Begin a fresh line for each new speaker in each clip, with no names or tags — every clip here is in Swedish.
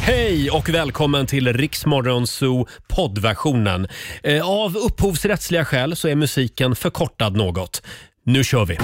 Hej och välkommen till Riksmorgon Zoo poddversionen. Eh, Av upphovsrättsliga skäl så är musiken förkortad något. Nu kör vi!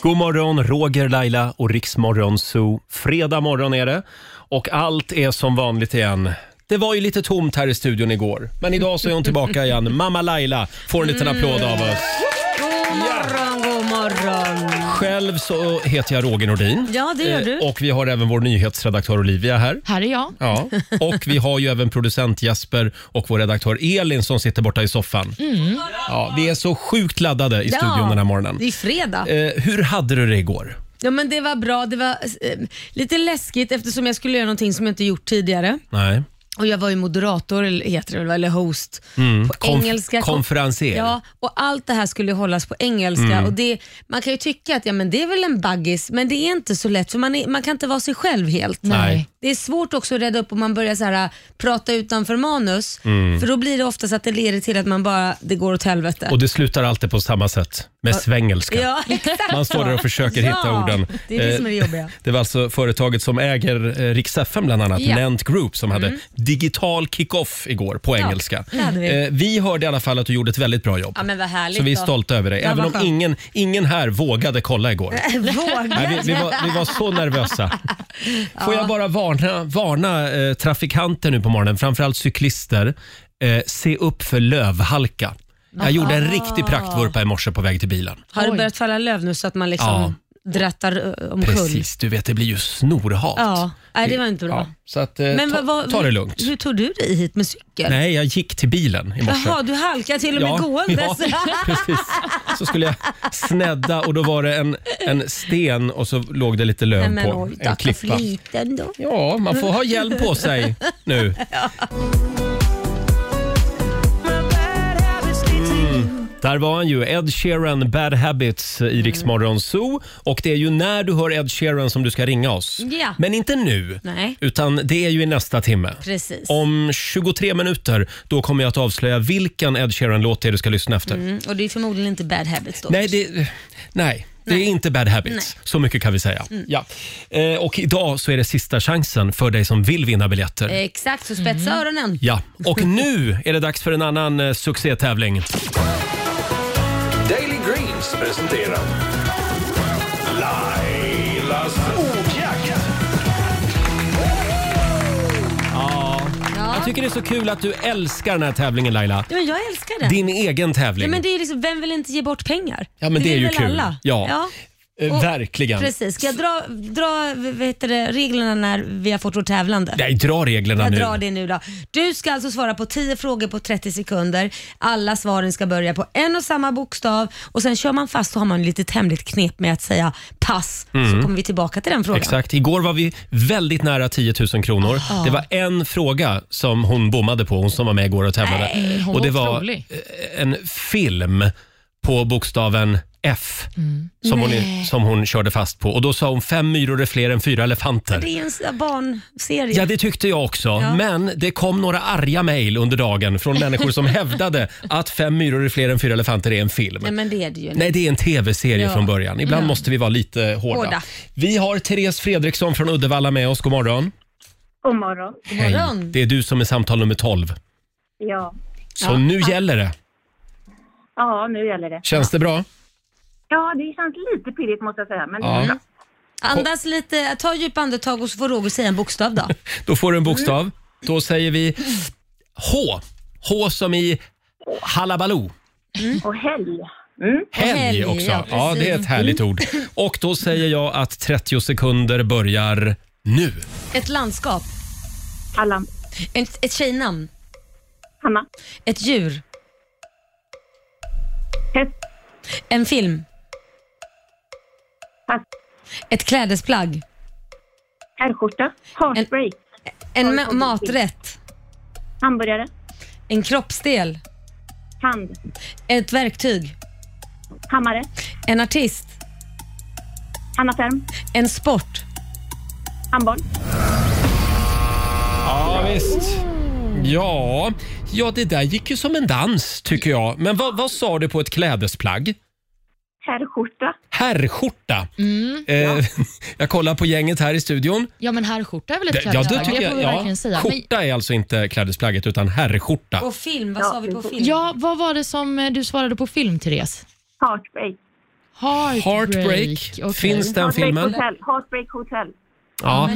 God morgon, Roger, Laila och Riksmorgon Zoo. Fredag morgon är det och allt är som vanligt igen. Det var ju lite tomt här i studion igår, men idag så är hon tillbaka igen. Mamma Laila får en liten applåd av oss.
Mm. God morgon, god morgon.
Själv så heter jag Roger Nordin.
Ja, det gör
Eh,
du.
Och vi har även vår nyhetsredaktör Olivia här.
Här är jag.
Ja, och vi har ju även producent Jasper och vår redaktör Elin som sitter borta i soffan.
Mm.
Ja, vi är så sjukt laddade i studion den här morgonen.
Det är fredag.
Eh, hur hade du det igår?
Ja, men det var bra. Det var eh, lite läskigt eftersom jag skulle göra någonting som jag inte gjort tidigare.
Nej.
Och Jag var ju moderator, eller heter det väl, eller host. På
Mm. Konf-
engelska.
konferenser.
Ja, och allt det här skulle hållas på engelska.
Mm.
Och det, man kan ju tycka att ja, men det är väl en baggis, men det är inte så lätt för man, är, man kan inte vara sig själv helt.
Nej.
Det är svårt också att rädda upp om man börjar så här, äh, prata utanför manus, för då blir det oftast att det leder till att man bara, det går åt helvete.
Mm. Och det slutar alltid på samma sätt, med svängelska.
Ja, exakt
Man står där och försöker
ja,
hitta orden.
Det är det som är det
Eh,
jobbiga.
Det var alltså företaget som äger eh, Rix FM bland annat,
Ja.
Nent Group, som hade digital kick-off igår på engelska.
Mm. det hade vi.
Eh, vi hörde i alla fall att du gjorde ett väldigt bra jobb.
Ja, men vad härligt
Så vi är
då.
stolta över det.
Ja,
Även
vad
om
skönt.
ingen, ingen här vågade kolla igår.
Våga.
Nej, vi, vi, var, vi var så nervösa. Får jag bara varna, varna eh, trafikanter nu på morgonen, framförallt cyklister. Eh, se upp för lövhalka. Jag gjorde en riktig
Ah.
praktvurpa i morse på väg till bilen.
Har det
Oj.
börjat falla löv nu så att man liksom drattar ö, omkull?
Precis, du vet det blir ju snorhalt.
Ja, nej, det var inte bra.
Ja, så att, eh,
Men
ta,
vad, vad,
ta det lugnt.
Hur tog du dig hit med cykel?
Nej, jag gick till bilen i morse.
Jaha, du halkade till och med gående.
ja, precis. Så skulle jag snedda och då var det en, en sten och så låg det lite löv
Nej, men
på.
oj,
en
tacka
klippa.
fliten då.
Ja, man får ha hjälm på sig nu. Mm. Där var han ju, Ed Sheeran, Bad Habits i Rix
Mm.
Morgon Zoo. Och det är ju när du hör Ed Sheeran som du ska ringa oss.
Ja.
Men inte nu,
Nej.
utan det är ju i nästa timme.
Precis.
Om 23 minuter då kommer jag att avslöja vilken Ed Sheeran-låt det är du ska lyssna efter.
Mm, och det är förmodligen inte bad habits då.
Nej, det, nej, det är inte bad habits. Så mycket kan vi säga.
Mm.
Ja. Eh, och idag så är det sista chansen för dig som vill vinna biljetter.
Exakt, så spetsa öronen.
Mm. Ja, och nu är det dags för en annan eh, succétävling.
Daily Greens presenterar Lailas ordjakt.
Jag tycker det är så kul att du älskar den här tävlingen Laila.
Ja, men jag älskar den.
Din egen tävling.
Ja, men det är ju liksom, vem vill inte ge bort pengar?
Ja, men det är
vill
ju
väl
kul.
Alla?
Ja. Eh,
och-
Verkligen.
Precis. Ska jag dra, dra vad heter det, reglerna när vi har fått vår tävlande?
Nej, dra reglerna
Jag
nu.
drar det nu då. Du ska alltså svara på 10 frågor på 30 sekunder. Alla svaren ska börja på en och samma bokstav och sen kör man fast och har man lite hemligt knep med att säga pass så kommer vi tillbaka till den frågan.
Mm. Exakt. Igår var vi väldigt nära 10 000 kronor. Det var en fråga som hon bommade på, hon som var med igår och tävlade.
Nej, hon
och det
var
var
otrolig.
eh, en film på bokstaven F
Mm.
som, hon, som hon körde fast på. Och Då sa hon fem myror är fler än fyra elefanter.
Det är en s- barnserie.
Ja, det tyckte jag också. Men det kom några arga mejl under dagen från människor som hävdade att Fem myror är fler än fyra elefanter är en film.
Nej men det är det ju.
Nej, det är en tv-serie
Ja. Mm.
från början. Ibland måste vi vara lite hårda.
Hårda.
Vi har Therese Fredriksson från Uddevalla med oss. God morgon.
God morgon.
Hej.
morgon.
Det är du som är samtal nummer 12.
Ja.
Så nu gäller det.
ja, nu gäller det.
Känns det bra?
Ja, det känns lite pirrigt måste jag säga. Men
Ja.
Mm.
ja.
Andas lite, ta djupa andetag och så får Roger säga en bokstav då.
Då får du en
Mm.
bokstav. Då säger vi H. H som i Hallabaloo.
Och helg. Mm.
Helg,
helg,
också. Ja,
ja,
det är ett
precis. Mm.
härligt ord. Och då säger jag att 30 sekunder börjar nu.
Ett landskap,
Allan.
ett, ett tjejnamn,
Hanna.
ett djur,
Häst.
en film,
Pass.
ett klädesplagg,
Herrskjorta. Heartbreak.
en
Oj,
ma-
oj, oj.
maträtt,
Hamburgare.
en kroppsdel,
Hand.
ett verktyg,
Hammare.
en artist,
Hanna Ferm.
en sport.
Handboll.
Ja, visst. Ja, ja, det där gick ju som en dans tycker jag. Men vad, vad sa du på ett klädesplagg?
Herrskjorta.
Herrskjorta. Eh, Jag kollar på gänget här i studion.
Ja, men herrskjorta är väl ett
Ja, det
klädesplagg?
tycker
det får
jag.
vi
Ja,
verkligen säga. Men,
skjorta är alltså inte klädesplagget utan herrskjorta.
Och film, vad
Ja,
sa vi på film?
ja, vad var det som eh, du svarade på film, Therese?
Heartbreak.
Heartbreak.
Heartbreak.
okej.
Finns den
Heartbreak
filmen?
Hotel. Heartbreak Hotel.
Ja,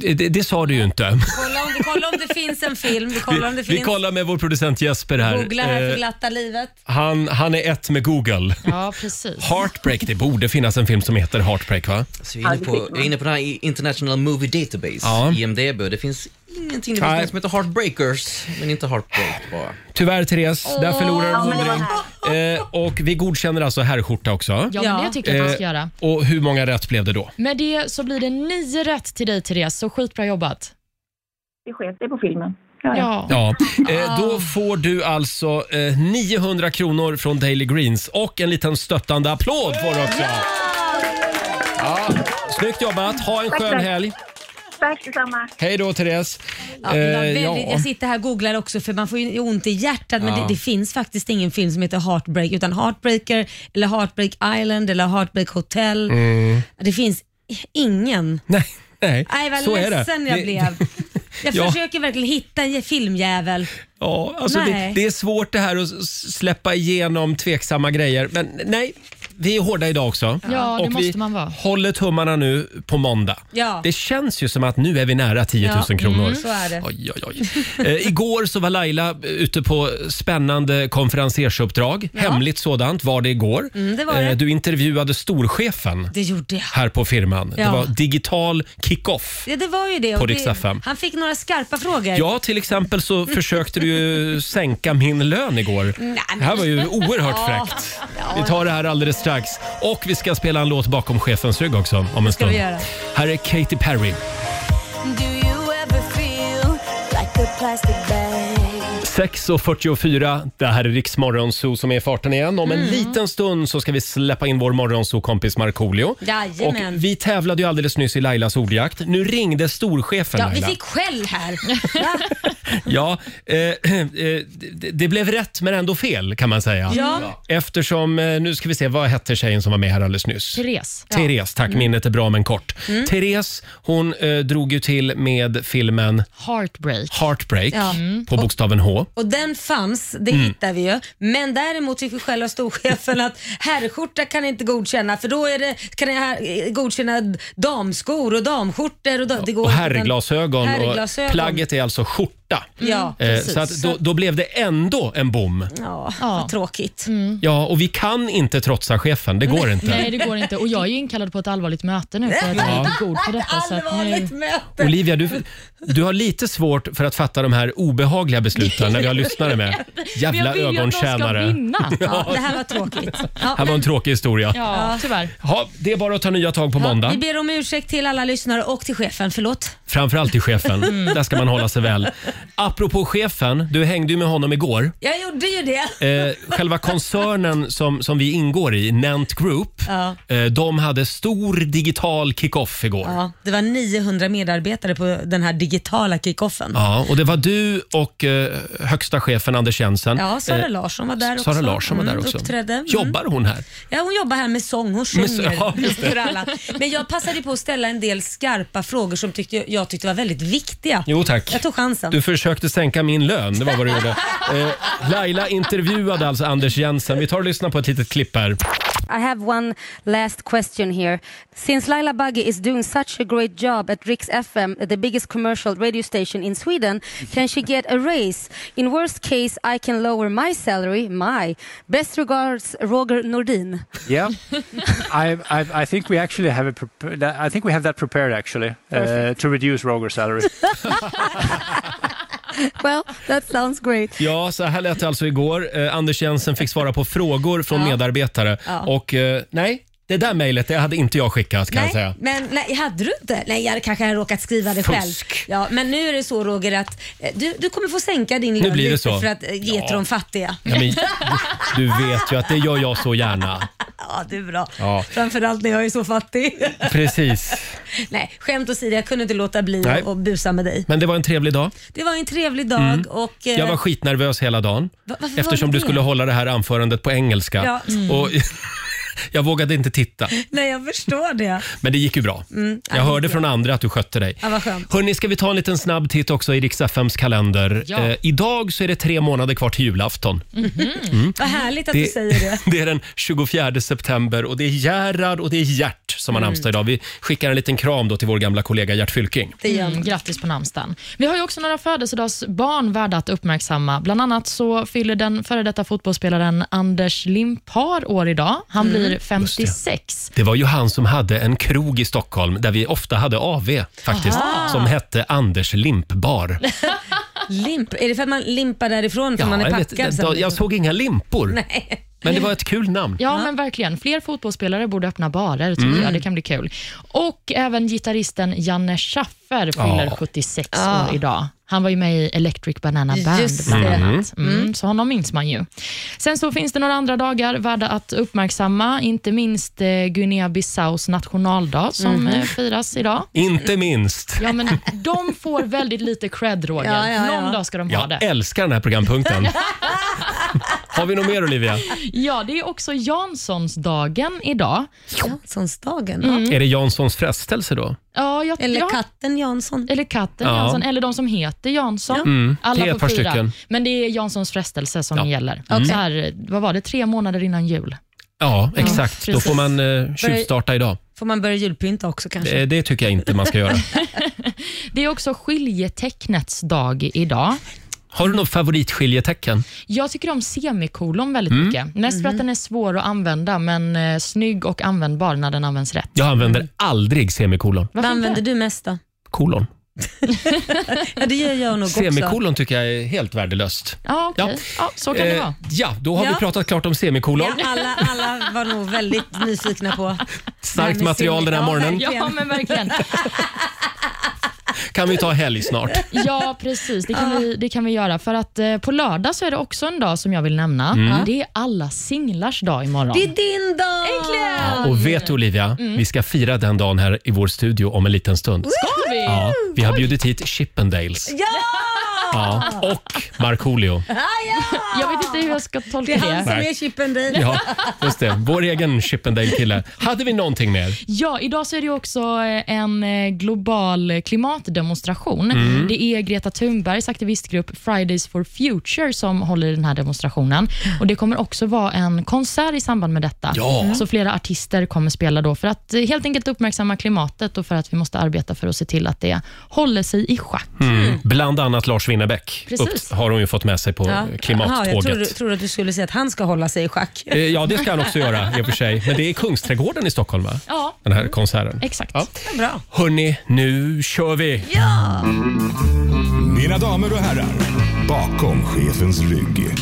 det, det, det sa du ju inte.
Kolla, om, kolla om det finns en film. Vi kollar om det
Vi
finns.
kollar med vår producent Jesper här.
Googla här
Eh,
för glatta livet.
han, han är ett med Google.
Ja, precis.
Heartbreak, det borde finnas en film som heter Heartbreak va?
Så vi är inne på, vi är inne på den här i- International Movie Database,
Ja.
IMDB. Det finns ingenting. Det finns
Nej.
något som heter Heartbreakers, men inte Heartbreak bara.
Tyvärr Therese, där förlorar du en
Ja, men det var
hundring. Eh, och vi godkänner alltså herrskjorta också.
Ja,
Ja.
men det tycker jag att man ska
Eh,
göra.
och hur många rätt blev det då?
Med det så blir det nio rätt till dig, Therese, så skitbra jobbat.
Det sket sig på filmen. Ja, ja.
Ja.
Ja, eh, då får du alltså eh, 900 kronor från Daily Greens och en liten stöttande applåd får du också. Ja, snyggt jobbat, ha en skön
tack.
helg.
Tack detsamma.
Hej då Therese.
Ja, jag,
Eh,
väldigt,
ja.
jag sitter här och googlar också för man får ju ont i hjärtat men det, det finns faktiskt ingen film som heter Heartbreak utan Heartbreaker eller Heartbreak Island eller Heartbreak Hotel.
Mm.
Det finns ingen.
Nej, nej,
Nej vad
så är det.
ledsen jag
Det-
blev. Jag
Ja.
försöker verkligen hitta en filmjävel.
Ja, alltså det,
Nej.
det är svårt det här att s- släppa igenom tveksamma grejer. Men nej, vi är hårda idag också.
Ja, det
Och vi
måste man vara.
håller tummarna nu på måndag.
Ja.
Det känns ju som att nu är vi nära 10 000
Ja, Mm.
kronor.
så är det.
Oj, oj, oj. Eh, igår så var Laila ute på spännande konferensersuppdrag. Hemligt sådant var det igår.
Mm,
Eh,
det var det.
du intervjuade storchefen
Det gjorde jag.
här på firman. Det
Ja.
var digital kick-off.
Ja, det var ju det.
På
Och
Rix FM.
det han fick några skarpa frågor.
Ja, till exempel så försökte du ju sänka min lön igår. Det här var ju oerhört fräckt. Vi tar det här alldeles strax. Och vi ska spela en låt bakom chefens rygg också om en
ska vi
stund.
göra.
Här är Katy Perry.
Do you ever feel like a plastic bag?
6.44, det här är Riks Morgonzoo som är i farten igen. Om en
Mm.
liten stund så ska vi släppa in vår Morgonzoo-kompis Markoolio. Och
Jajamän.
vi tävlade ju alldeles nyss i Lailas ordjakt. Nu ringde storchefen
Ja, vi
Laila.
fick skäll här. Va?
Ja, eh, eh, det, det blev rätt men ändå fel kan man säga.
Ja.
Eftersom, eh, nu ska vi se, vad hette tjejen som var med här alldeles nyss?
Therese.
Therese, tack.
Mm.
Minnet är bra men kort. Therese, hon eh, drog ju till med filmen
Heartbreak.
Heartbreak
Ja. Mm.
på bokstaven H.
Och den fanns, det
Mm.
hittar vi ju. Men däremot fick vi skäll av storchefen att herrskjorta kan inte godkänna för då är det, kan jag här- eh, godkänna damskor och damskjortor. Och, da, det går
Och
inte.
herrglasögon.
Herrglasögon. Mm.
Och plagget är alltså skjorta.
Ja,
Eh,
precis. Mm.
så att då, då blev det ändå en bom.
Ja,
Ja.
vad tråkigt.
Mm. Ja, och vi kan inte trotsa chefen. Det går inte.
Nej, det går inte. Och jag är ju inkallad på ett allvarligt möte nu för att jag är inte god på detta. Så att nu...
Allvarligt
Alltså,
möte.
Olivia, du, du har lite svårt för att fatta de här obehagliga besluten när vi har lyssnare med. Jävla
Men jag vill ju att de ska
ögontjänare.
vinna.
Ja, det här var tråkigt. Ja,
här var en
men-
tråkig historia. Ja.
Ja, tyvärr.
det är bara att ta nya tag på
ja,
måndag.
vi ber om ursäkt till alla lyssnare och till chefen, förlåt.
Framförallt till chefen.
Mm.
Där ska man hålla sig väl. Apropå chefen, du hängde ju med honom igår.
Jag gjorde ju det.
Eh, själva koncernen som, som vi ingår i, Nant Group,
Ja.
eh, de hade stor digital kick-off igår. Ja.
Ja, det var 900 medarbetare på den här digitala kickoffen.
och det var du och eh, högsta chefen Anders Jensen.
Ja, Sara
Eh,
Larsson var där också.
Sara Larsson var där
Mm,
också.
Uppträdde. Mm.
Jobbar hon här?
Ja, hon jobbar här med sång. Hon
Med så-
sjunger
ja, just det.
för alla. Men jag passade på att ställa en del skarpa frågor som tyckte, jag tyckte var väldigt viktiga.
Jo tack.
Jag tog chansen.
Du försökte sänka min lön, det var vad du gjorde. Eh, Laila intervjuade alltså Anders Jensen. Vi tar och lyssnar på ett litet klipp här.
I have one last question here. Since Laila Bagge is doing such a great job at Rix FM, the biggest commercial radio station in Sweden, can she get a raise? In worst case, I can lower my salary. My best regards, Roger Nordin.
Yeah, I, I, I think we actually have it. prepa- that- I think we have that prepared actually uh, to reduce Roger's salary.
Well, that sounds great.
Ja, så här lät det alltså igår. Eh, Anders Jensen fick svara på frågor från medarbetare. Och eh, nej, det där mejlet det hade inte jag skickat kan jag säga.
Nej, men nej, hade du inte? Nej, jag hade kanske hade råkat skriva det
Fusk.
själv. Ja, men nu är det så Roger att eh, du, du kommer få sänka din lön
blir det
lite
så.
för att eh, ge
Ja.
till de fattiga.
Ja, men, du vet ju att det gör jag så gärna.
Ja, det är bra.
Ja.
Framförallt när jag är så fattig.
Precis.
nej, skämt åsido, jag kunde inte låta bli
Nej.
att busa med dig.
Men det var en trevlig dag.
Det var en trevlig dag och... eh,
Mm. Jag var skitnervös hela dagen
Va- varför var
eftersom
du
du
det?
skulle hålla det här anförandet på engelska.
Ja. Mm.
Och, Jag vågade inte titta,
Nej, jag förstår det.
men det gick ju bra.
Mm.
Jag hörde från andra att du skötte dig.
Ja, vad skönt.
Hörni, ska vi ta en liten snabb titt också i Riks-FMs kalender.
Ja.
Eh, idag så är det tre månader kvar till julafton.
Vad härligt att du
Det,
säger det.
det är den 24 september och det är Gerhard och det är Gert som har namnsdag idag. Vi skickar en liten kram då till vår gamla kollega Gert Fylking.
Mm, grattis på namnsdagen. Vi har ju också några födelsedagsbarn värda att uppmärksamma. Bland annat så fyller den före detta fotbollsspelaren Anders Limpar år idag. Han blir 56.
Det var ju han som hade en krog i Stockholm där vi ofta hade AV faktiskt, som hette Anders Limpbar.
Mm.
Limp. Är det för att man limpar därifrån för man är
jag,
packad?
vet, jag,
sen?
jag såg inga limpor,
Nej.
men det var ett kul namn.
Ja, men verkligen. Fler fotbollsspelare borde öppna barer, tycker jag. Det kan bli kul. Och även gitarristen Janne Schaffer fyller
Ja.
76 år idag. Han var ju med i Electric Banana Band.
Just
bland
det.
annat. Mm, så honom minns man ju. Sen så finns det några andra dagar värda att uppmärksamma, inte minst eh, Guinea-Bissaus nationaldag som
Mm.
eh, firas idag.
Inte minst.
Ja, men de får väldigt lite cred, Roger.
Ja, ja, ja.
Någon dag ska de ha det.
Jag älskar den här programpunkten. Har vi något mer Olivia?
Ja, det är också Janssonsdagen idag.
Janssonsdagen.
Är det Janssons frestelse då?
Ja, jag,
Eller
Mm. ja.
katten Jansson.
Eller katten
Ja.
Jansson, eller de som heter Jansson. Alla
Det är ett
får
par
fira.
stycken.
Men det är Janssons frestelse som
Ja.
gäller. Så här, vad var det, tre månader innan jul?
Ja, exakt. Då
Mm. precis.
får man eh, tjuvstarta idag.
Får man börja julpynta också kanske?
Eh, Det tycker jag inte man ska göra.
Det är också skiljetecknets dag idag.
Har du något favoritskiljetecken?
Jag tycker om semikolon väldigt
Mm.
mycket. Mest
Mhm.
för att den är svår att använda, men eh, snygg och användbar när den används rätt.
Jag
Mm.
använder aldrig semikolon.
Vad
Varför inte?
använder du mest då?
Kolon.
Ja, det gör jag nog också.
Semikolon tycker jag är helt värdelöst.
Ja, okej.
Ja.
Ja, så kan det
Eh,
vara.
ja, då har vi
Ja.
pratat klart om semikolon.
Ja, alla, alla var nog väldigt nyfikna på.
Starkt
men
material
semi-
den här
ja,
morgonen.
verkligen.
Ja, men verkligen.
Kan vi ta helg snart?
Ja, precis. Det kan, vi, det kan vi göra. För att eh, på lördag så är det också en dag som jag vill nämna.
Mm.
Det är alla singlars dag imorgon.
Det är din dag!
Äntligen!
Och vet du Olivia,
Mm.
vi ska fira den dagen här i vår studio om en liten stund.
Ska vi?
Ja, vi har bjudit hit Chippendales
Ja!
ja, och Markoolio.
Jag vet inte hur jag ska tolka
Det är han
det.
som
Nej.
är chippen dig.
Ja, just det. Vår egen Chippendale-kille. Hade vi någonting mer?
Ja, idag så är det ju också eh, en eh, global klimatdemonstration.
Mm.
Det är Greta Thunbergs aktivistgrupp Fridays for Future som håller i den här demonstrationen. Och Det kommer också vara en konsert i samband med detta.
Ja.
Mm.
Så flera artister kommer spela då för att eh, helt enkelt uppmärksamma klimatet och för att vi måste arbeta för att se till att det håller sig i schack.
Mm. Bland annat Lars Winnerbäck
Precis.
har hon ju fått med sig på
Ja. Jaha, jag
klimattåget.
trodde, trodde att du skulle säga att han ska hålla sig i schack.
Eh, Ja, det ska han också göra i och för sig. Men det är i Kungsträdgården i Stockholm, va?
Ja,
Den här konserten.
exakt.
Ja.
Bra.
Hörni, nu kör vi!
Mina damer och herrar, bakom chefens rygg.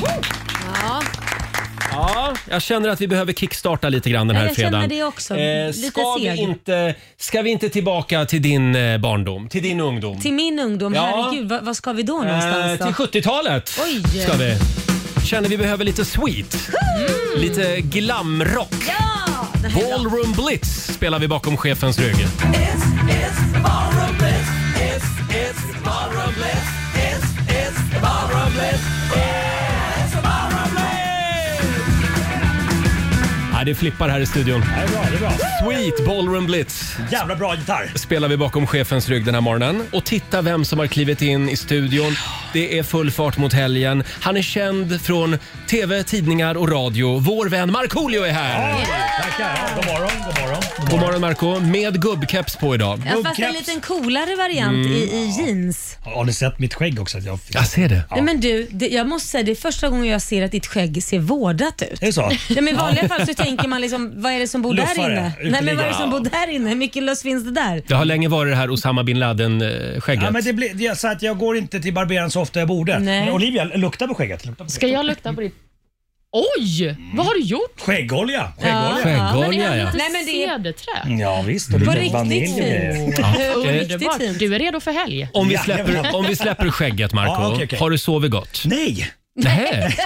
Ja, jag känner att vi behöver kickstarta lite grann den
Ja,
här
jag känner
fredagen.
det också. Lite
Eh, ska, vi
seg.
inte, ska vi inte tillbaka till din eh, barndom, till din ungdom?
Till min ungdom,
Ja.
herregud, vad, vad ska vi då
Eh,
någonstans då?
till 70-talet
Oj.
ska vi. Känner vi behöver lite sweet.
Mm.
Lite glamrock.
Ja! Den här dagen.
Ballroom Blitz spelar vi bakom chefens rygg. Ja, Det flippar här i studion.
Det är bra, det är bra.
Sweet Ballroom Blitz
Jävla bra gitarr.
spelar vi bakom chefens rygg den här morgonen. Och titta vem som har klivit in i studion. Det är full fart mot helgen. Han är känd från TV, tidningar och radio. Vår vän Markoolio är här!
Tackar. God morgon, god morgon.
God morgon Marco, med gubbkeps på idag.
Ja, fast en liten coolare variant i, i jeans.
Har ni sett mitt skägg också? Att jag fick...
Jag ser det.
Nej, men du, det, jag måste säga det är första gången jag ser att ditt skägg ser vårdat ut.
Är det så?
Ja, men I vanliga fall så tänker man liksom, vad är det som bor där
Luffare,
inne? Nej, men vad är det som
uteliggare.
bor där inne? Hur mycket löss finns det där?
Det har länge varit det här Osama bin eh, Laden-skägget.
Ja, men det blir, det är så att jag går inte till barberaren så ofta jag borde.
Nej.
Men Olivia, lukta på skägget. Lukta på
Ska jag lukta på ditt... Oj! Vad har du gjort?
Skäggolja. Skäggolja.
Skäggolja, ja. Mm.
Nej, men det är-
Cederträ.
Ja, visst. Och det
På
blir
riktigt
vanilj och
fint.
grejer.
Eh,
Riktigt fint.
Du är redo för helg.
om, vi
Jajamän.
släpper, om vi släpper skägget, Marco
Ja, okej, okej.
har du sovit gott?
Nej,
Nej,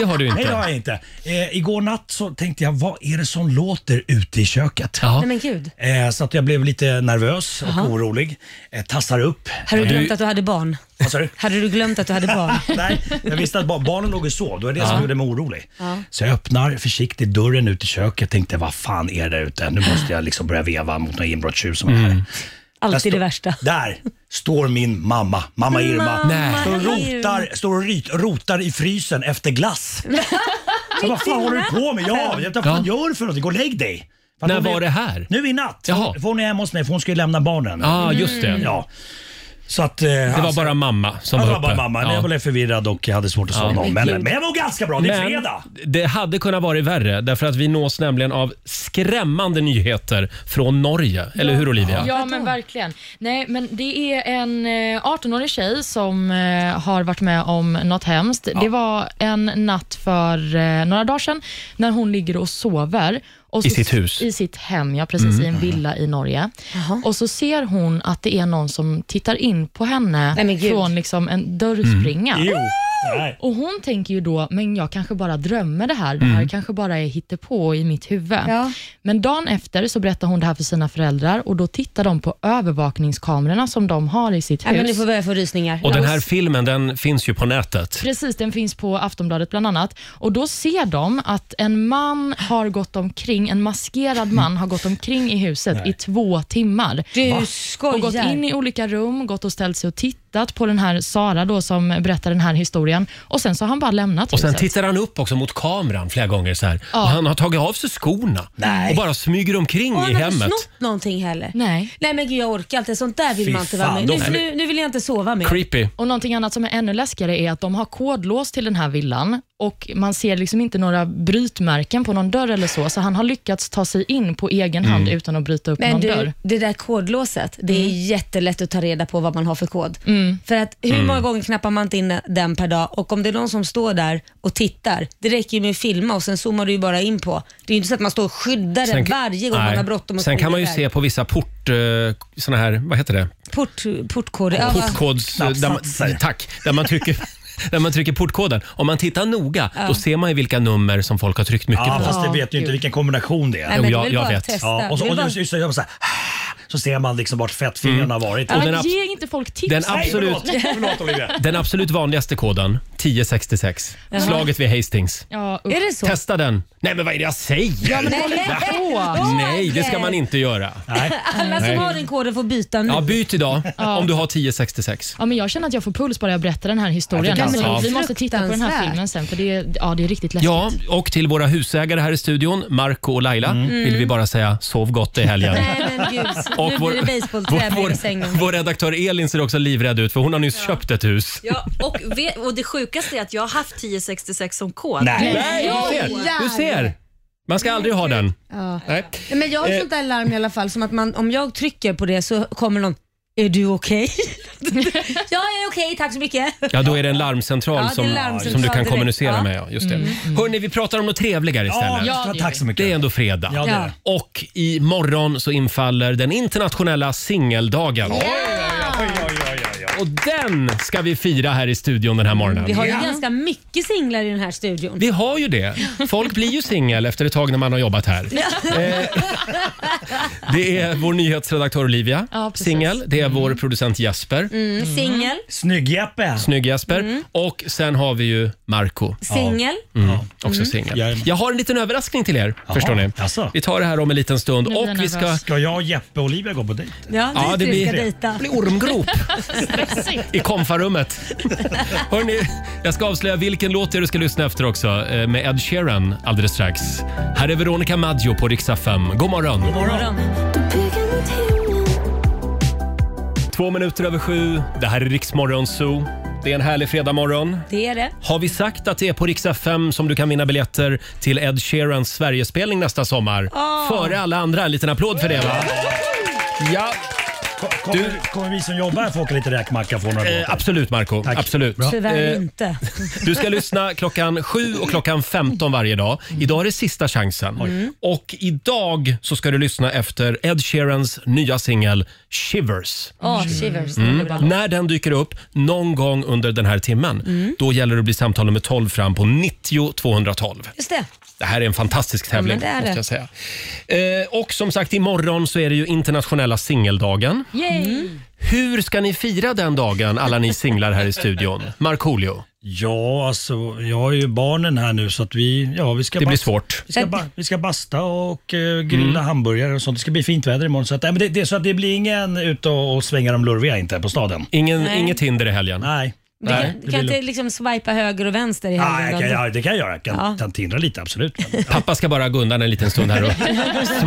det har du
Nej, det
inte.
har jag inte. Eh, igår natt så tänkte jag, vad är det som låter ute i köket?
Ja.
Nej men gud.
Eh, så att jag blev lite nervös och
Jaha.
orolig. Eh, tassar upp.
Har du
Eh,
glömt att du hade barn?
Vad sa du?
Hade du glömt att du hade barn?
Nej, jag visste att ba- barnen låg och sov. Det var det
Ja.
som gjorde mig orolig.
Ja.
Så jag öppnar försiktigt dörren ut i köket. Tänkte, vad fan är det där ute? Nu måste jag liksom börja veva mot någon inbrottstjuv som är
Mm.
här. Jag stå-
Alltid det värsta.
Där står min mamma, mamma Irma.
Nej.
Står och
Irma.
rotar, står och ryt, rotar i frysen efter glass. Så vad fan håller du på med? Ja, jag vet inte, vad fan gör du för någonting? Gå och lägg dig. För att
När
hon är-
var det här?
Nu i natt.
Jaha.
För hon är hemma hos mig för hon ska ju lämna barnen. Mm.
Ja, ah, just det.
Ja. Så att, eh,
Det var bara mamma som
Ja,
var
det
uppe.
var bara mamma. Jag var lite förvirrad och jag hade svårt att
Ja.
somna om. Men,
Gud.
men jag mår ganska bra. Det är
Men
fredag.
det hade kunnat vara värre därför att vi nås nämligen av skrämmande nyheter från Norge. Eller hur Olivia?
Ja, men verkligen. Nej, men det är en eh, 18-årig tjej som eh, har varit med om något hemskt. Det var en natt för eh, några dagar sedan när hon ligger och sover. Och
I
så-
sitt hus? Mm.
I sitt hem, ja. Precis, i en villa i Norge. Och så ser hon att det är någon som tittar in på henne
Nej, men gud.
från liksom en dörrspringa.
Mm.
Nej.
Och Hon tänker ju då, men jag kanske bara drömmer det här. Det här
Mm.
kanske bara är hittepå i mitt huvud.
Ja.
Men dagen efter så berättar hon det här för sina föräldrar och då tittar de på övervakningskamerorna som de har i sitt
Nej, men nu
hus.
får börja få rysningar.
Och den här filmen den finns ju på nätet.
Precis, den finns på Aftonbladet bland annat. Och Då ser de att en man har gått omkring, en maskerad man har gått omkring i huset i två timmar.
Du
och gått in
skojar.
i olika rum, gått och ställt sig och tittat på den här Sara då som berättar den här historien och sen så har han bara lämnat
Och sen
huset.
tittar han upp också mot kameran flera gånger så här. Och han har tagit av sig skorna och bara smyger omkring
Och han
i
har inte
hemmet.
snott någonting heller.
Nej.
Nej men gud jag orkar inte. Sånt där vill
Fy
man inte vara
fan,
med
de-
nu, nu, nu vill jag inte sova med.
Creepy.
Och Någonting annat som är ännu läskigare är att de har kodlås till den här villan och man ser liksom inte några brytmärken på någon dörr eller så, så han har lyckats ta sig in på egen
Mm.
hand utan att bryta upp
Men
någon
du,
dörr.
det där kodlåset, det är jättelätt att ta reda på vad man har för kod. För att hur
Mm.
många gånger knappar man inte in den per dag och om det är någon som står där och tittar, det räcker ju med att filma och sen zoomar du ju bara in på. Det är ju inte så att man står och skyddar den varje gång
nej.
man har bråttom. och
Sen kan
kommer
man ju
iväg.
se på vissa port, eh, såna här, vad heter det?
Port, portkod. Ja, va?
Portkods... eh, Där man, Mm,
Knappsatser.
tack! Där man trycker... Där man trycker portkoden. Om man tittar noga, då ser man ju vilka nummer som folk har tryckt mycket
Ja,
på.
fast det vet ju inte vilken kombination det är.
Nej, men
Jo,
du vill
jag- jag
bara
vet.
testa.
Ja, och
Du
så,
vill
och
bara-
just, just, det, så, här, så ser man liksom vart fettfingrarna har varit.
Ja,
den
men
abs-
ge inte folk tips.
Den Mm. absolut,
Nej, förlåt, förlåt Olivia.
den absolut vanligaste koden, 1066. Slaget vid Hastings.
Ja,
Är
usch.
det så?
Testa den. Nej, men vad är det jag säger? Nej, det ska man inte göra.
Alla
Nej.
som har den koden får byta nu.
Ja, byt idag om du har 1066.
Ja, men jag känner att jag får puls bara jag berättar den här historien.
Ja, det
alltså,
kan jag
vi
ta.
måste titta på den här
Fruktansvärt.
filmen sen, för det är, ja, det är riktigt läskigt.
Ja, och till våra husägare här i studion, Marco och Laila, vill vi bara säga sov gott i helgen.
Nej men gud,
Och
nu blir det basebollträ
vår,
bredvid sängen.
vår redaktör Elin ser också livrädd ut för hon har nyss köpt ett hus.
Ja, och, ve- och det sjukaste är att jag har haft 1066 som kod.
Nej.
Du ser, du ser! Man ska aldrig ha den. Nej.
Nej, Men jag har ett sånt där larm i alla fall, som att man, om jag trycker på det så kommer någon är du okej? ja, jag är okej, tack så mycket.
Ja, då är det en larmcentral,
Ja, det är
som,
larmcentral
som du kan
direkt.
kommunicera
Ja.
med. Ja, just det. Hörrni, vi pratar om något trevligare
Ja,
istället.
ja, tack så mycket.
Det är ändå fredag.
Ja, det är det.
Och imorgon så infaller den internationella singeldagen. Och den ska vi fira här i studion den här morgonen.
Vi har ju ganska mycket singlar i den här studion.
Vi har ju det. Folk blir ju singel efter ett tag när man har jobbat här. Eh, Det är vår nyhetsredaktör Olivia,
Ja, precis.
singel. Det är vår producent Jesper,
Mm. Singel,
Snygg-Jeppe.
snygg Jesper. Och sen har vi ju Marco
singel.
Mm. Också singel.
Jajamän.
Jag har en liten överraskning till er. förstår ni?
jaså.
Vi tar det här om en liten stund.
blir
Och
jag
vi ska
nervös.
Ska jag och Jeppe och Olivia gå på dejt?
Ja,
Ja,
dit
det
vi
blir-
ska dejta.
bli ormgrop
Stressigt.
i konfarummet. Hörrni, jag ska avslöja vilken låt det är du ska lyssna efter också eh, med Ed Sheeran alldeles strax. Här är Veronica Maggio på riksdag 5. God morgon! Två minuter över sju. Det här är Riksmorgon Zoo. Det är en härlig fredagmorgon.
Det är det.
Har vi sagt att det är på Rix FM som du kan vinna biljetter till Ed Sheerans Sverigespelning nästa sommar? Före alla andra. En liten applåd för det va? Ja.
Kommer, kommer vi som jobbar här få åka lite räkmacka få några
Eh, absolut Marco, absolut.
Tyvärr
Eh,
inte.
Du ska lyssna klockan 7 och klockan 15 varje dag. Idag är det sista chansen.
Mm.
Och idag så ska du lyssna efter Ed Sheerans nya singel Shivers.
Åh, shivers.
Mm.
underbart.
När den dyker upp någon gång under den här timmen,
Mm.
då gäller det att bli samtal nummer 12 fram på 90 212.
Just det.
Det här är en fantastisk tävling,
Ja, men det är
måste jag säga. Eh, och som sagt, imorgon så är det ju internationella singeldagen.
Yay!
Mm.
Hur ska ni fira den dagen, alla ni singlar här i studion? Markoolio?
Ja, alltså jag har ju barnen här nu så att vi, ja vi ska
Det blir
bast-
svårt.
Vi ska, ba- vi ska basta och eh, grilla
Mm.
hamburgare och sånt. Det ska bli fint väder imorgon. Så att, nej, men det, det, är så att det blir ingen ut och, och svänga de lurviga inte på staden.
Ingen,
Nej. inget
hinder i helgen?
Nej.
Du kan, du kan inte liksom swipa höger och vänster i
Nej, jag
helgen?
kan,
då?
Ah, ja, det kan jag göra. Jag kan, kan tindra lite, absolut.
Pappa ska bara gå undan en liten stund här och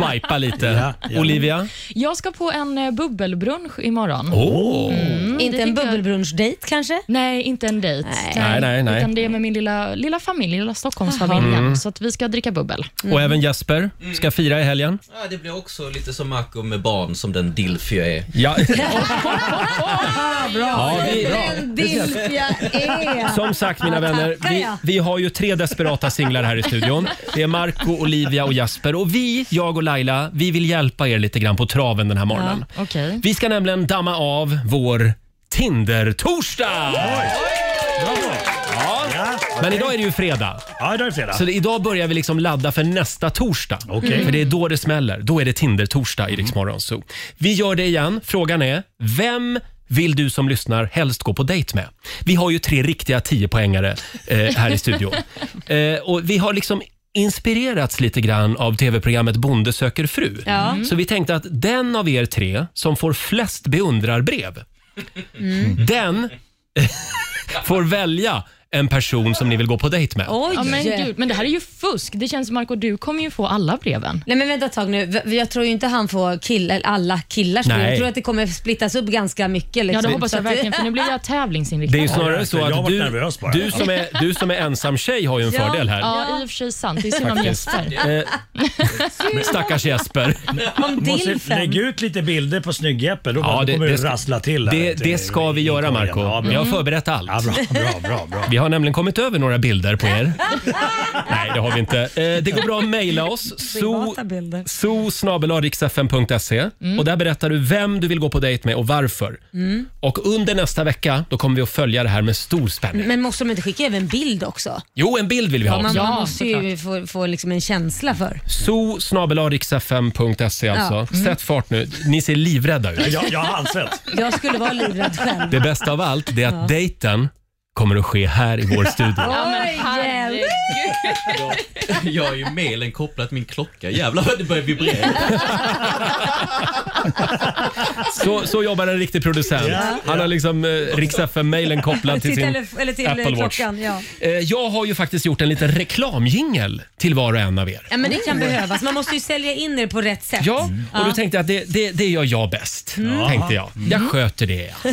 swipa lite. Olivia?
Jag ska på en eh, bubbelbrunch imorgon.
Åh.
Mm.
inte en bubbelbrunch-dejt kanske? Nej, inte en dejt.
Nej, nej, nej.
Utan det är med min lilla, lilla familj, lilla Stockholmsfamiljen.
Mm.
Så att vi ska dricka bubbel.
Mm.
Och även Jesper ska fira i helgen.
Ja, det blir också lite som Marco med barn som den DILF jag är.
Ja.
Bra.
Ja, vi-
Den dilf jag är.
Som sagt mina
Ja,
vänner,
tackar
vi,
jag.
vi har ju tre desperata singlar här i studion. Det är Marco, Olivia och Jasper. Och vi, jag och Laila, vi vill hjälpa er lite grann på traven den här morgonen.
Ja, okej.
Vi ska nämligen damma av vår Tinder-torsdag! Ja. Men idag är det ju fredag.
Ja, idag är det fredag.
Så det, idag börjar vi liksom ladda för nästa torsdag.
Okej.
För det är då det smäller. Då är det Tinder-torsdag i
Mm.
Rix Morgon Zoo. Vi gör det igen. Frågan är, vem vill du som lyssnar helst gå på dejt med? Vi har ju tre riktiga tiopoängare eh, här i studion. Eh, och vi har liksom inspirerats lite grann av tv-programmet Bonde söker fru.
Ja. Mm.
Så vi tänkte att den av er tre som får flest beundrarbrev,
Mm.
den får välja en person som ni vill gå på dejt med.
Ja, men, gud, men det här är ju fusk. Det känns som Marco, du kommer ju få alla breven.
Nej men vänta ett tag nu. V- Jag tror ju inte han får kill, eller alla killars
Nej.
brev. Jag tror att det kommer splittas upp ganska mycket. Liksom.
Ja, det hoppas jag
Så att-
verkligen, för nu blir jag tävlingsinriktad.
Det är ju snarare så
Jag har
att
varit
du,
nervös bara.
du, som är, du som är ensam tjej har ju en fördel här.
Ja, i och för sig sant. Det är synd om
Faktiskt.
Jesper.
Eh, Stackars Jesper.
Du måste lägga ut lite bilder på snygg-Jeppe, då ja, det, kommer det
ska-
rassla till. här
Det,
till-
det ska vi göra Marco.
Ja, bra.
Vi har förberett allt.
Ja, bra, bra, bra, bra.
Vi har nämligen kommit över några bilder på er. Nej, det har vi inte. Eh, Det går bra att mejla oss. So,
Privata bilder.
so och där berättar du vem du vill gå på dejt med och varför.
Mm.
Och under nästa vecka då kommer vi att följa det här med stor spänning.
Men måste de inte skicka över en bild också?
Jo, en bild vill vi ha
Mm. man,
också.
man måste ju få, få liksom en känsla för.
so alltså.
Ja. Mm.
Sätt fart nu. Ni ser livrädda ut.
Jag, jag har handsvett.
Jag skulle vara livrädd själv.
Det bästa av allt det är att
Ja.
dejten kommer att ske här i vår studio.
Ja, men
Oj,
herregud.
Jag har ju mailen kopplat till min klocka. Jävlar vad det börjar vibrera.
Så, så jobbar en riktig producent.
Ja.
Han har liksom eh, Rix FM-mailen kopplad till
Till
sin
telef- eller till
Apple Watch.
klockan, ja.
Eh, Jag har ju faktiskt gjort en liten reklamjingel till var och en av er.
Ja, men det kan behövas. Man måste ju sälja in det på rätt sätt.
Ja, och då tänkte jag att det, det, det gör jag bäst.
Mm.
Tänkte jag. Jag
Mm.
sköter det. ja.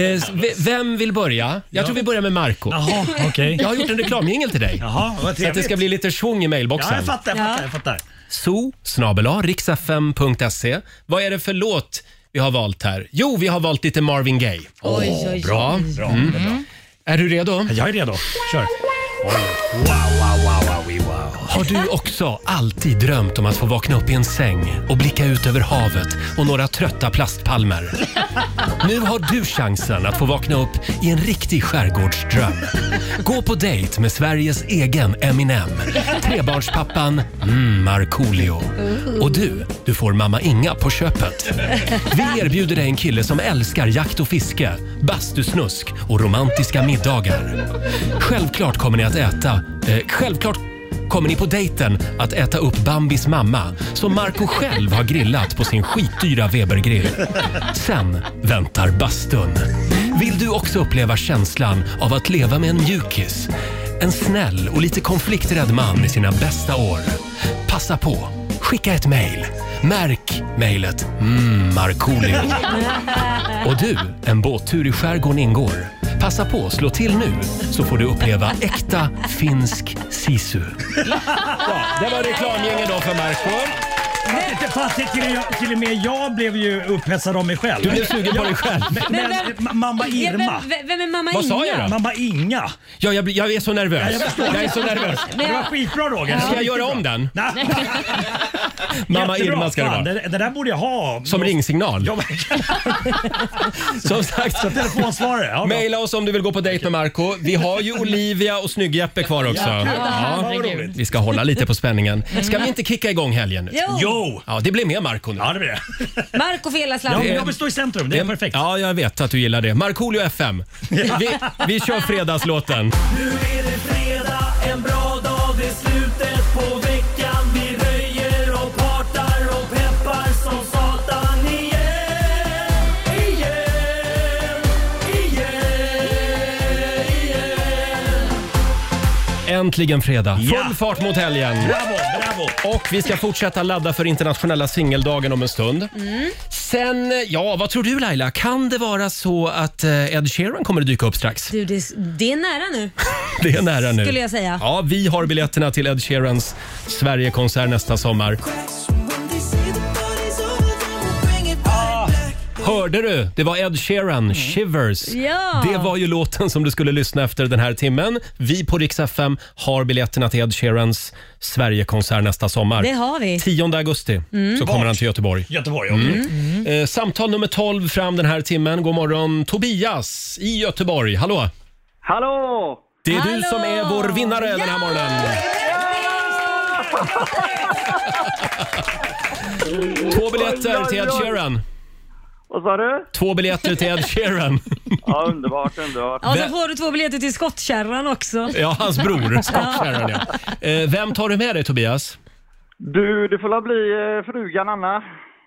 Eh, v- Vem vill börja? Jag tror vi börjar med Marco
Jaha, okej.
Jag har gjort en reklamjingel till dig.
Jaha, vad
så att det
trevligt.
ska bli lite schvung i mailboxen.
Ja, jag fattar, jag fattar, jag fattar.
so riksfm.se. Vad är det för låt vi har valt här? Jo, vi har valt lite Marvin Gaye.
Oj, oj, oj.
Bra.
Bra,
Mm.
bra, bra.
Är du redo?
Jag är redo. Kör. Oj. Wow, wow, wow, wow, wow.
Har du också alltid drömt om att få vakna upp i en säng och blicka ut över havet och några trötta plastpalmer? Nu har du chansen att få vakna upp i en riktig skärgårdsdröm. Gå på dejt med Sveriges egen Eminem, trebarnspappan mm, Markoolio. Och du, du får mamma Inga på köpet. Vi erbjuder dig en kille som älskar jakt och fiske, bastusnusk och romantiska middagar. Självklart kommer ni att äta... Eh, självklart kommer ni på dejten att äta upp Bambis mamma som Marco själv har grillat på sin skitdyra Webergrill. Sen väntar bastun. Vill du också uppleva känslan av att leva med en mjukis? En snäll och lite konflikträdd man i sina bästa år. Passa på, skicka ett mejl. Märk mejlet mm, Markoolio. Och du, en båttur i skärgården ingår. Passa på, slå till nu så får du uppleva äkta finsk sisu. Ja, det var reklamgängen då för Marco.
Fast inte- Fast till, till, till och med jag blev ju upphetsad av mig själv.
Du blev sugen på dig själv.
Men,
Men
men,
vem-
ma- mamma
Ja,
Irma.
vem, vem- vem är mamma
Vad sa jag
Inga?
då?
Mamma Inga.
Ja, jag, blir- jag är så
Ja,
nervös.
jag förstår.
Jag är så nervös.
Det var skitbra Roger.
Ska jag göra om den?
Nej.
Mamma
Jättebra.
Irma ska det
Fan,
vara.
Det, det där borde jag ha.
Som ringsignal.
Ja, men-
Som sagt,
Som telefonsvarare. Ja, bra.
mejla oss om du vill gå på dejt med Marco Vi har ju Olivia och snygg-Jeppe kvar också.
Ja, kul.
Ja.
Vad roligt.
Vi ska hålla lite på spänningen. Ska vi inte kicka igång helgen nu?
Jo,
Jo!
Ja, det blir mer Marco nu.
Ja, det blir det.
Marco för hela
Jag,
slanten.
jag vill stå i centrum. Det är perfekt.
Ja, jag vet att du gillar det. Markoolio FM. Vi, vi kör fredagslåten.
Nu är det fredag, en bra dag, det är slutet på veckan. Vi röjer och partar och peppar som satan igen. Igen, igen, igen.
Äntligen fredag. Full
Ja.
fart mot helgen.
Bravo, bravo.
Och vi ska fortsätta ladda för internationella singeldagen om en stund. Sen, ja, vad tror du Laila? Kan det vara så att eh, Ed Sheeran kommer att dyka upp strax?
Du, det, det är nära nu.
Det är nära nu.
Skulle jag säga.
Ja, vi har biljetterna till Ed Sheerans Sverigekonsert nästa sommar. Ah, Hörde du? Det var Ed Sheeran, Shivers.
Mm. Ja.
Det var ju låten som du skulle lyssna efter den här timmen. Vi på Rix FM har biljetterna till Ed Sheerans Sverigekonsert nästa sommar.
Det har vi. Mm.
10 augusti så kommer han till Göteborg.
Göteborg, okej.
Eh, samtal nummer 12 fram den här timmen. God morgon Tobias i Göteborg. Hallå!
Hallå!
Det är du
Hallå!
som är vår vinnare den här
Ja!
morgonen. Två biljetter till Ed Sheeran.
Vad sa du?
Två biljetter till Ed Sheeran.
Ja, underbart, underbart.
Ja,
Vem-
så får du två biljetter till skottkärran också.
Ja, hans bror. Scott Sheeran, ja. Eh, Vem tar du med dig Tobias?
Du, det får väl bli eh, frugan Anna.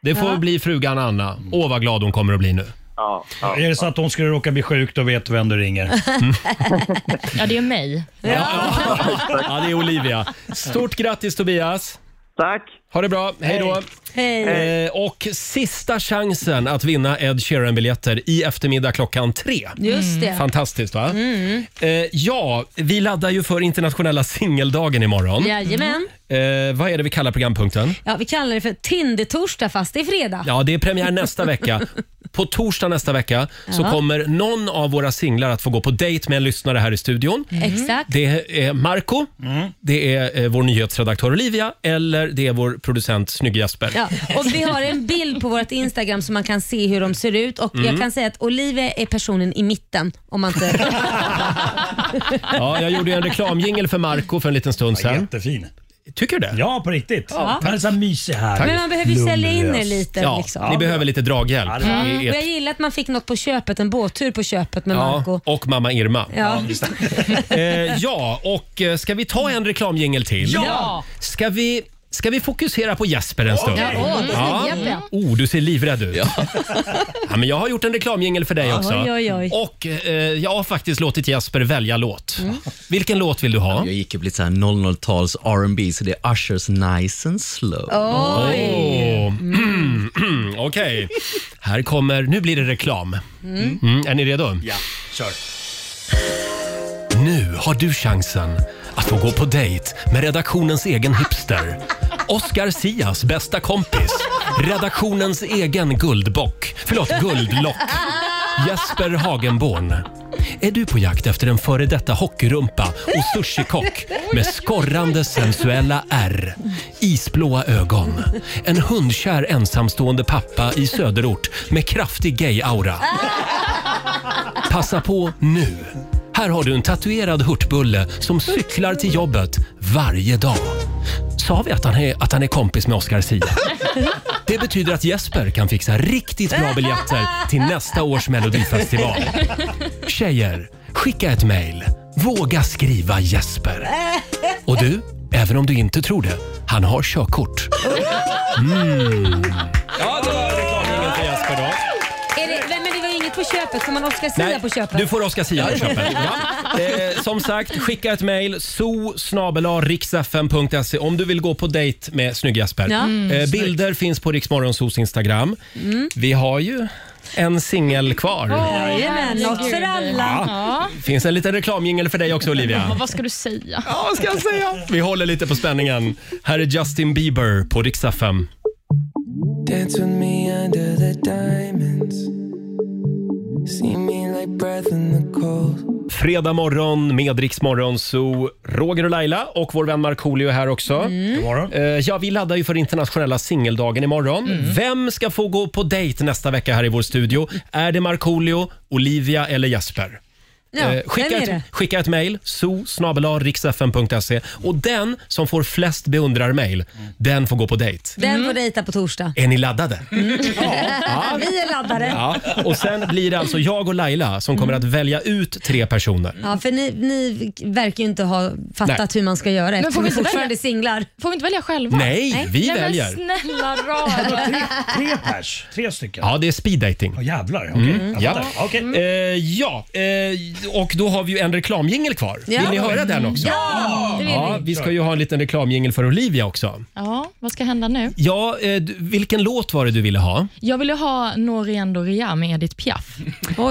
Det får bli frugan Anna. Åh, vad glad hon kommer att bli nu.
Ja, ja.
Är det så att hon skulle råka bli sjuk, då vet du vem du ringer.
Ja, det är mig.
Ja, det är Olivia. Stort grattis Tobias.
Tack!
Ha det bra. Hej då.
Hej.
Eh, och sista chansen att vinna Ed Sheeran-biljetter i eftermiddag klockan tre.
Just det.
Fantastiskt va?
Mm.
Eh, ja, vi laddar ju för internationella singeldagen imorgon.
Jajamän.
Eh, vad är det vi kallar programpunkten?
Mm. Ja, vi kallar det för Tinder-torsdag fast det är fredag.
Ja, det är premiär nästa vecka. På torsdag nästa vecka så
Ja.
kommer någon av våra singlar att få gå på dejt med en lyssnare här i studion.
Exakt.
Det är Marco,
Mm.
det är eh, vår nyhetsredaktör Olivia eller det är vår producent Snygg Jasper.
Ja, och vi har en bild på vårt Instagram så man kan se hur de ser ut och
Mm.
jag kan säga att Olivia är personen i mitten om man inte...
Ja, jag gjorde ju en reklamjingel för Marco för en liten stund sedan.
Jättefin.
Tycker du det?
Ja, på riktigt. Ja. Han är så här mysig här.
Men man behöver ju sälja in er
Lugnlös.
lite
Ja,
liksom. Mm.
ni behöver lite draghjälp.
Ja, det är
I
Och
ert-
jag gillar att man fick något på köpet, en båttur på köpet med Marco.
ja, och mamma Irma.
Ja.
Eh, ja, och eh, ska vi ta en reklamjingel till?
Ja.
Ska vi, ska vi fokusera på Jesper en stund?
Ja, åh, det är Jeppe.
Oh, du ser livrädd ut. Ja. men jag har gjort en reklamjingel för dig också.
Oj, oj, oj.
Och eh, jag har faktiskt låtit Jesper välja låt.
Mm.
Vilken låt vill du ha?
Jag gick upp lite så här 00-tals R&B så det är Ushers Nice and Slow.
Åh. Mm. Okej, här kommer... Nu blir det reklam. Mm, är ni redo?
Ja, kör.
Nu har du chansen att få gå på dejt med redaktionens egen hipster. Oscar Sias bästa kompis. Redaktionens egen guldbock. Förlåt, guldlock. Jesper Hagenborn. Är du på jakt efter en före detta hockeyrumpa och sushikock med skorrande sensuella R, isblåa ögon, en hundkär ensamstående pappa i söderort med kraftig gay-aura? Passa på nu! Här har du en tatuerad hurtbulle som cyklar till jobbet varje dag. Sa vi att han är, att han är kompis med Oscar Sia? Det betyder att Jesper kan fixa riktigt bra biljetter till nästa års Melodifestival. Tjejer, skicka ett mejl. Våga skriva Jesper. Och du, även om du inte tror det, han har körkort. Mm. Ja, det var reklamringen för Jesper då.
Är det, men men det var ju inget på köpet, får man Oscar Sia på köpet?
Du får Oscar Sia på köpet. Ja. Eh, som sagt, skicka ett mejl. zoo.riksfm.se om du vill gå på dejt med snygg Jesper.
Ja. Mm,
eh, bilder finns på Riksmorgonsos Instagram. Vi har ju en singel kvar.
Jajamän, något för alla.
Ja.
finns en liten reklamjingel för dig också Olivia.
Ja, vad ska du säga?
Ja, vad ska jag säga? Vi håller lite på spänningen. Här är Justin Bieber på Riksfm.
Dance with me under the diamonds. See me like breath in the cold.
Fredag morgon med Rix Morgon, så Roger och Laila och vår vän Markoolio är här också.
Mm.
Eh, Ja, vi laddar ju för internationella singeldagen imorgon. Vem ska få gå på dejt nästa vecka här i vår studio? Är det Markoolio, Olivia eller Jesper?
Ja,
Eh, skicka,
vem är det?
ett, skicka ett mejl, so Och den som får flest beundrarmejl, den får gå på dejt.
Den får dejta på torsdag.
Är ni laddade? Ja.
Vi är laddade.
Ja. Och sen blir det alltså jag och Laila som kommer att välja ut tre personer.
Ja, för ni, ni verkar ju inte ha fattat
Nej.
hur man ska göra
Men
eftersom
får vi
vi
inte välja?
fortfarande är singlar.
Får vi inte välja själva?
Nej, Nej. vi väljer.
Men snälla
Tre,
rara.
tre pers, tre stycken.
Ja, det är speed dating.
jävlar,
Mm,
jag
ja.
fattar. Okej.
Eh, ja, eh, och då har vi ju en reklamjingel kvar.
Ja.
Vill ni höra den också?
Ja, det vill vi.
ja vi ska ju ha en liten reklamjingel för Olivia också.
Ja, vad ska hända nu?
Ja, eh, du- vilken låt var det du ville ha?
Jag ville ha Noreen Doria med Edith Piaf.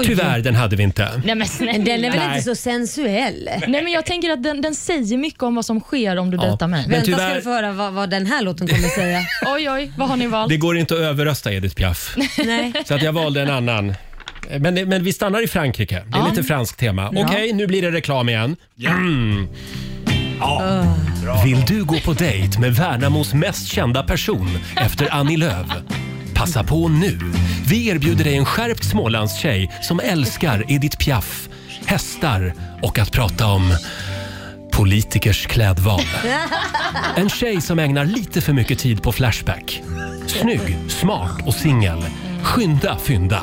Tyvärr, den hade vi inte.
Nej men snälla.
Den är väl
Nej.
inte så sensuell?
Nej men jag tänker att den, den säger mycket om vad som sker om du
Ja,
dejtar mig.
men Vänta, ska tyvärr- du
få höra vad, den här låten kommer säga.
oj oj, vad har ni valt?
Det går inte att överrösta Edith Piaf.
Nej.
Så att jag valde en annan. Men, men vi stannar i Frankrike. Det är
Ja.
lite franskt tema.
Ja.
Okej, nu blir det reklam igen. Mm. Vill du gå på dejt med Värnamos mest kända person efter Annie Lööf? Passa på nu! Vi erbjuder dig en skärpt smålandstjej som älskar Edith Piaf, hästar och att prata om politikers klädval. En tjej som ägnar lite för mycket tid på Flashback. Snygg, smart och singel. Skynda fynda.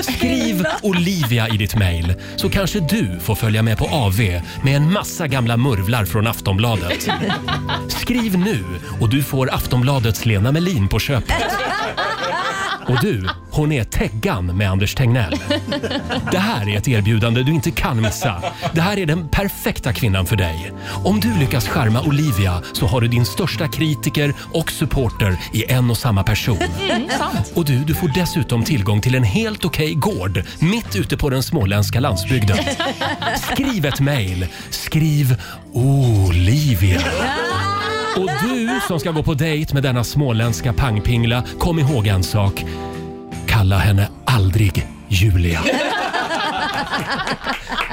Skriv Olivia i ditt mejl så kanske du får följa med på AV med en massa gamla murvlar från Aftonbladet. Skriv nu och du får Aftonbladets Lena Melin på köpet. Och du, hon är Teggan med Anders Tegnell. Det här är ett erbjudande du inte kan missa. Det här är den perfekta kvinnan för dig. Om du lyckas charma Olivia så har du din största kritiker och supporter i en och samma person.
Mm, sant.
Och du, du får dessutom tillgång till en helt okej gård mitt ute på den småländska landsbygden. Skriv ett mejl. Skriv Olivia. Och du som ska gå på dejt med denna småländska pangpingla, kom ihåg en sak. Kalla henne aldrig Julia.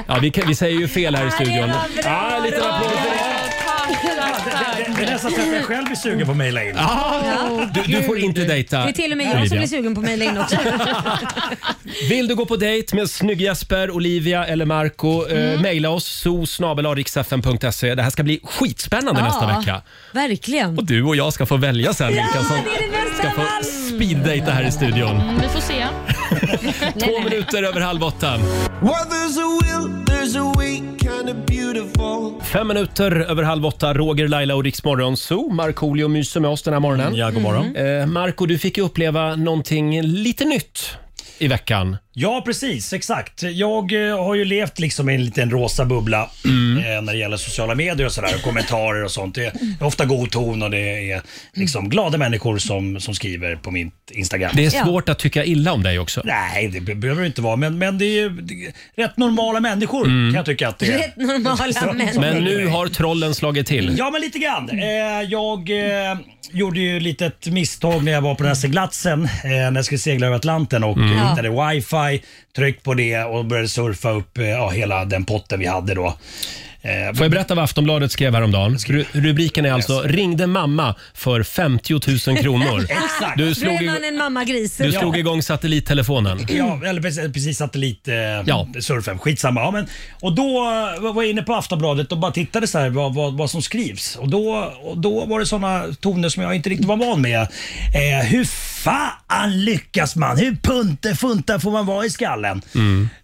Ja, vi, kan, vi säger ju fel här i studion. Ja, en liten applåd för
Det, det är nästan så att jag själv blir sugen på att mejla in.
Ja. Du, du får inte
Det
dejta
är till och med jag som
Olivia.
blir sugen på att mejla in också.
Vill du gå på dejt med snygg Jesper, Olivia eller Marco?
Mm.
Eh, mejla oss, so Det här ska bli skitspännande
Ja,
nästa vecka.
Verkligen.
Och du och jag ska få välja sen
Ja,
vilka som
det är det bästa
ska
av
få speeddejta här i studion.
Mm, vi får se.
Två minuter över halv åtta.
Well, there's a will, there's a way, kind of beautiful.
Fem minuter över halv åtta, Roger, Laila och Riksmorgon Zoo. Markoolio myser med oss den här morgonen.
Ja, god morgon.
Eh, Marco, du fick ju uppleva någonting lite nytt i veckan.
Ja, precis. Exakt. Jag eh, har ju levt liksom i en liten rosa bubbla
Mm.
eh, när det gäller sociala medier och sådär och kommentarer och sånt. Det är ofta god ton och det är liksom glada människor som, som skriver på mitt Instagram.
Det är svårt att tycka illa om dig också.
Nej, det be- behöver det inte vara, men, men det är ju det är rätt normala människor kan jag tycka att det är.
Rätt normala människor.
Mm. Men nu har trollen slagit till.
Ja, men lite grann. Eh, jag eh, gjorde ju lite ett misstag när jag var på den här seglatsen, eh, när jag skulle segla över Atlanten och
Mm.
eh, hittade wifi, tryckte på det och började surfa upp eh, ja, hela den potten vi hade då. Eh,
Får jag berätta vad Aftonbladet skrev häromdagen? Ru- Rubriken är alltså “Ringde mamma för 50 000 kronor”. Du slog,
Blev
igång,
man en mammagris?
du slog igång satellittelefonen.
Ja, eller precis, precis satellitsurfen. Eh,
Ja.
surfen. Skitsamma. Ja, men, och då eh, var jag inne på Aftonbladet och bara tittade så här vad, vad, vad som skrivs. Och då, och då var det såna toner som jag inte riktigt var van med. Eh, hur fan lyckas man? Hur punte funta får man vara i skallen?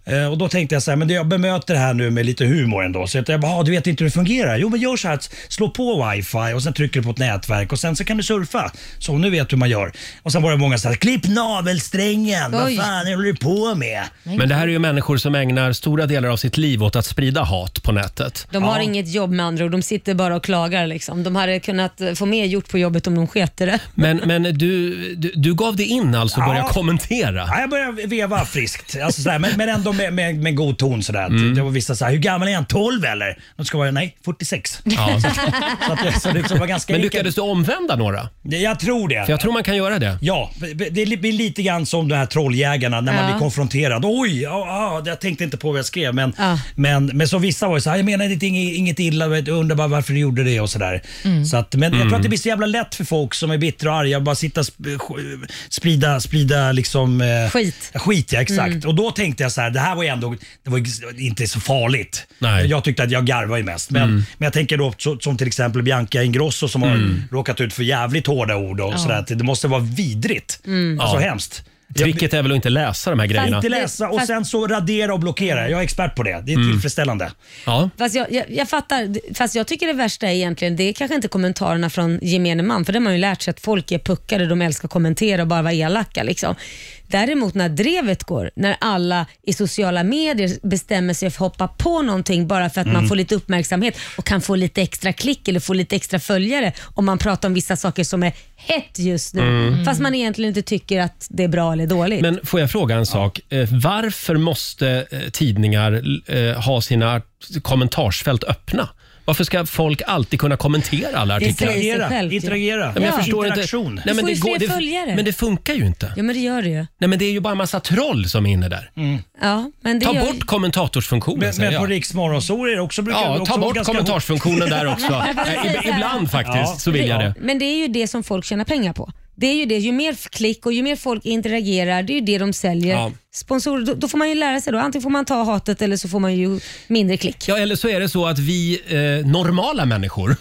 Eh, och Då tänkte jag så här, men det- jag bemöter det här nu med lite humor ändå. Så jag, jag bara, "Ah, du vet inte hur det fungerar? Jo, men gör så här att slå på wifi och sen trycker du på ett nätverk och sen så kan du surfa. Så nu vet du hur man gör. Och sen var det många så här, klipp navelsträngen,
Oj.
vad fan håller du på med?
Men det här är ju människor som ägnar stora delar av sitt liv åt att sprida hat på nätet.
De har inget jobb med andra ord. De sitter bara och klagar. Liksom. De hade kunnat eh, få mer gjort på jobbet om de sket i det.
Men, men du, du, du gav dig in alltså och började
Ja.
kommentera.
Ja, jag började veva friskt, alltså sådär, men, men ändå med, med, med god ton. Sådär.
Mm.
Det var vissa såhär, hur gammal är han? 12 eller? De ska vara, nej 46.
Ja.
Så, att det, så det var ganska
Men
enkelt.
lyckades du omvända några?
Jag tror det.
För jag tror man kan göra det.
Ja, det blir lite grann som de här trolljägarna när man
Ja.
blir konfronterad. Oj, ja, ja, jag tänkte inte på vad jag skrev. Men,
Ja.
men, men så vissa var ju så här, jag menar inte inget, inget illa, vet, jag undrar bara varför du gjorde det och sådär. Så att, men jag tror
Mm.
att det blir så jävla lätt för folk som är bittra och arga att bara sitta och sp- sk- sprida, sprida liksom, eh,
Skit.
Skit ja, exakt.
Mm.
Och då tänkte jag så här, det här var ju ändå det var ju inte så farligt.
Nej.
Jag tyckte att jag garvade ju mest. Men,
Mm.
men jag tänker då så, som till exempel Bianca Ingrosso som
Mm.
har råkat ut för jävligt hårda ord och
Ja.
sådär. att Det måste vara vidrigt.
Mm.
Alltså
Ja.
hemskt.
Tricket är väl att inte läsa de här grejerna?
Inte läsa och sen så radera och blockera. Jag är expert på det. Det är
Mm.
tillfredsställande.
Ja.
Fast jag, jag, jag fattar, fast jag tycker det värsta är egentligen, det är kanske inte kommentarerna från gemene man, för det har man ju lärt sig att folk är puckade, de älskar att kommentera och bara vara elaka. Liksom. Däremot när drevet går, när alla i sociala medier bestämmer sig för att hoppa på någonting bara för att man
Mm.
får lite uppmärksamhet och kan få lite extra klick eller få lite extra följare om man pratar om vissa saker som är hett just nu,
Mm.
fast man egentligen inte tycker att det är bra eller dåligt.
Men får jag fråga en sak? Eh, Varför måste eh, tidningar eh, ha sina kommentarsfält öppna? Varför ska folk alltid kunna kommentera alla
Det
artiklar?
säger sig självt ju. Interagera.
Nej, men jag
Ja.
förstår
Interaktion.
Inte.
Du
men
får ju
går-
fler
följare.
Men det funkar ju inte.
Ja, men det gör det ju.
Nej, men det är ju bara en massa troll som är inne där.
Mm.
Ja, men det
Ta
gör...
bort kommentatorsfunktionen
Men,
säger
men
jag.
på Riks Morgonzoo är det också brukar
Ja,
också
ta
vara
bort
ganska-
kommentarsfunktionen där också.
Men vad
Eh,
säger
ib-
jag?
ibland faktiskt
Ja.
så vill jag det.
Men det är ju det som folk tjänar pengar på. Det är ju det, ju mer klick och ju mer folk interagerar, det är ju det de säljer.
Ja.
Sponsorer, då, då får man ju lära sig då. Antingen får man ta hatet eller så får man ju mindre klick.
Ja, eller så är det så att vi eh, normala människor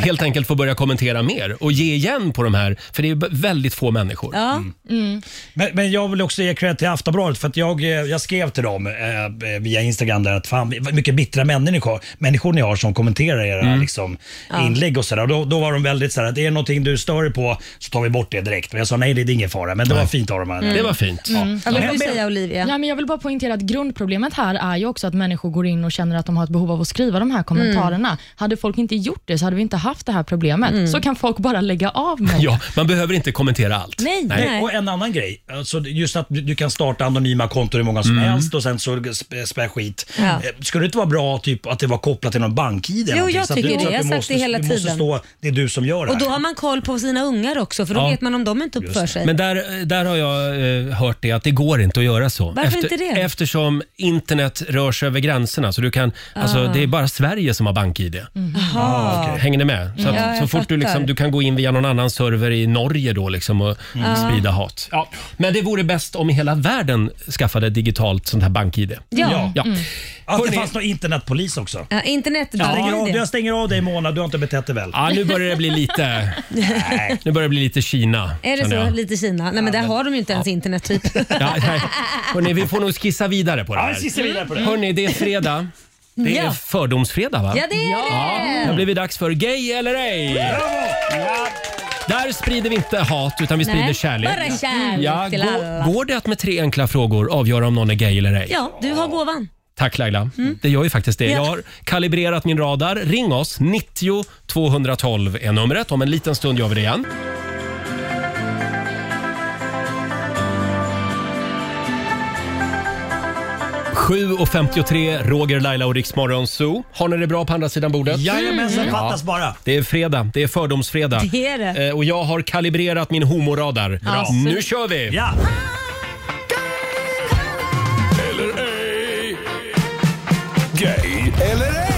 helt enkelt får börja kommentera mer och ge igen på de här, för det är ju b- väldigt få människor.
Ja.
Men, men jag vill också ge cred till Aftonbladet för att jag, eh, jag skrev till dem eh, via Instagram där att fan vad mycket bittra människor, människor ni har som kommenterar era
Mm.
liksom,
Ja.
inlägg och sådär. Då, då var de väldigt sådär att är det någonting du stör dig på så tar vi bort det direkt. Men jag sa nej det är ingen fara men det var fint av dem. här.
Mm. Det var fint.
Ja.
Mm.
Ja, vad vill du säga Olivia?
Ja, men jag vill bara poängtera att grundproblemet här är ju också att människor går in och känner att de har ett behov av att skriva
Mm.
de här kommentarerna. Hade folk inte gjort det så hade vi inte haft det här problemet. Så kan folk bara lägga av med det.
Mm. Ja, man behöver inte kommentera allt.
Nej. Och en annan grej, alltså just att du- du kan starta anonyma konton hur många som
Mm.
helst och sen så spä, spä skit.
Ja.
Eh, Skulle det inte vara bra typ, att det var kopplat till någon bank-id? eller
Jo,
någonting?
jag
Så att du-
tycker det.
så att
Jag
du
har sagt
måste-
det hela
Du måste
tiden.
stå, det är du som gör det
Och
här.
då har man koll på sina ungar också, för då
Ja.
vet man om de inte uppför sig.
Men där, där har jag eh, hört det att det går inte att göra så.
Varför inte det?
Eftersom internet rör sig över gränserna. Så du kan, alltså,
Ah.
det är bara Sverige som har bank-id.
Jaha.
Hänger ni med? Så,
Ja,
att,
jag
så fort du,
fattar.
liksom, du kan gå in via någon annan server i Norge då liksom och
Mm.
sprida hat. Ja. Men det vore bäst om hela världen skaffade digitalt sånt här bank-id.
Ja.
ja.
Mm.
Att det
Hörrni-
fanns någon internetpolis också.
Ja, internet
Jag
ja.
stänger, av,
det.
jag stänger av dig Mona, du har inte betett dig väl.
Ja, nu börjar det bli lite... Ah, Nej. Nu börjar det bli lite Kina.
Är det
känner
så?
jag.
Lite Kina? Nej men där har de ju inte ens internet typ.
Ja, nej. Hörrni, vi får nog skissa vidare på det
Ja,
här.
vi skissar vidare på det.
Hörrni, det är fredag. Det är
Ja.
fördomsfredag va?
Ja, det är det.
Det har blivit dags för Gay eller ej. Där sprider vi inte hat utan vi
Nej,
sprider kärlek.
bara kärlek
ja,
till
går,
alla.
Går det att med tre enkla frågor avgöra om någon är gay eller ej?
Ja, du har gåvan.
Tack
Mm.
Laila. Mm. Det gör ju faktiskt det.
Ja.
Jag har kalibrerat min radar. Ring oss. 90 212 är numret. Om en liten stund gör vi det igen. Sju och 53, Roger, Laila och Riksmorgon Zoo. Har ni det bra på andra sidan bordet?
Jajamensan, Mm. fattas bara.
Det är fredag, det är fördomsfredag.
Det är det.
Eh, Och jag har kalibrerat min homoradar.
Bra.
Nu kör vi!
Ja.
Gay eller ej?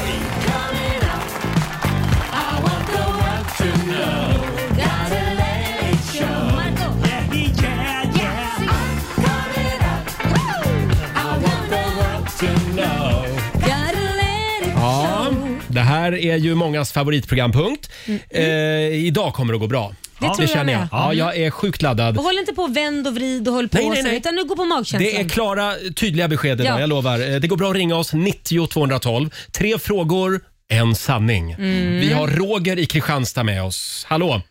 Ja, det här är ju mångas favoritprogrampunkt. Eh, idag kommer det att gå bra.
Mm. Det tror jag
känner jag.
med. Mm.
Ja, jag är sjukt laddad.
Och håll inte på och vänd och vrid och håll på
Nej, nej,
så,
nej.
utan nu gå på magkänslan.
Det är klara, tydliga besked idag,
Ja.
jag lovar. Eh, Det går bra att ringa oss, 90 212. Tre frågor, en sanning.
Mm.
Vi har Roger i Kristianstad med oss. Hallå!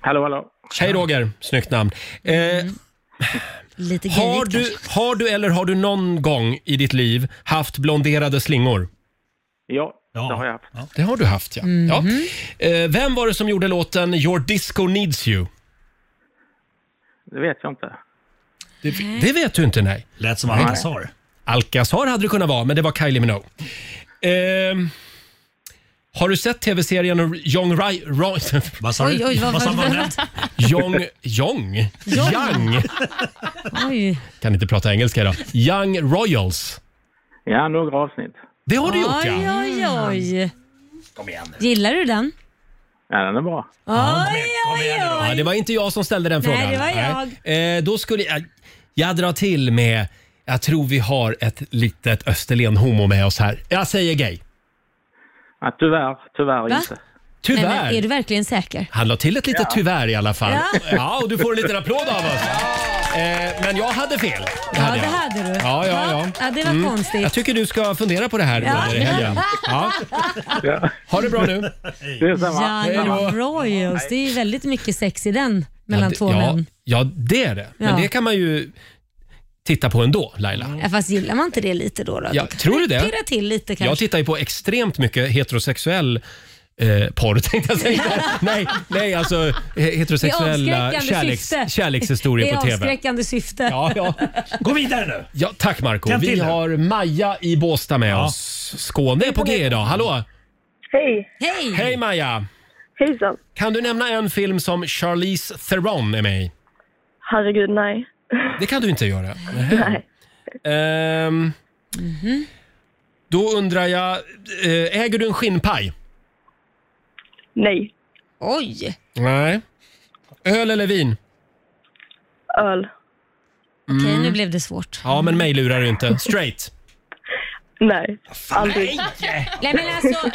Hallå, hallå. Hej Roger, snyggt namn. Eh,
Mm. Lite
har,
gulligt
du, har du eller har du någon gång i ditt liv haft blonderade slingor?
Ja, det har jag haft.
Det har du haft ja. ja. Eh, vem var det som gjorde låten “Your Disco Needs You”?
Det vet jag inte.
Det, det vet du inte, nej.
Lät som
Alcazar.
Alcazar hade det kunnat vara, men det var Kylie Minogue. Ehm, har du sett tv-serien Young Ry... Ry vad
sa du? Oj, oj, vad Vad sa var det? Manette?
Young... Young? Young?
Oj.
Kan inte prata engelska idag. Young Royals.
Ja, några avsnitt.
Det har du gjort,
oj,
ja.
oj, oj. Gillar du den?
Ja, den är bra.
Oj, oj, oj.
Ja, det var inte jag som ställde den
Nej,
frågan.
det var
jag. Eh, då skulle jag, jag drar till med, jag tror vi har ett litet Österlen-homo med oss här. Jag säger gay.
Ja, tyvärr, tyvärr inte.
Tyvärr.
Nej, men är du verkligen säker?
Han la till ett litet tyvärr i alla fall.
Ja.
Ja. och du får en liten applåd av oss. Eh, men jag hade fel.
Ja,
hade
det
jag.
hade du.
Ja, ja, ja. Mm.
Ja, det var konstigt.
Jag tycker du ska fundera på det här
Ja.
under helgen. Ja. Ha det bra nu.
Ja,
Hej då.
Royals. Det är ju väldigt mycket sex i den mellan två
ja,
män.
ja, det är det. Men
Ja.
det kan man ju titta på ändå, Laila.
Ja, fast gillar man inte det lite då? då?
Ja, tror du det?
Pirra till lite
Jag
kanske.
tittar ju på extremt mycket heterosexuell eh, porr tänkte jag säga. nej, nej, alltså he- heterosexuella
I avskräckande
kärleks,
syfte.
kärlekshistorier på
I
TV.
avskräckande syfte.
Ja, ja.
Gå vidare nu.
Ja, tack Marco.
Tänd
Vi
till nu.
har Maja i Båstad med oss. Skåne är på G idag. Hallå!
Hej!
Hej!
Hej Maja!
Hejsan!
Kan du nämna en film som Charlize Theron är med i?
Herregud, nej.
Det kan du inte göra.
Nej.
Ehm, Då undrar jag, eh, äger du en skinnpaj?
Nej.
Oj!
Nej. Öl eller vin?
Öl.
Okej,
Mm.
nu blev det svårt.
Ja, men mig lurar du inte. Straight.
Nej. Aldrig.
Nej, men alltså...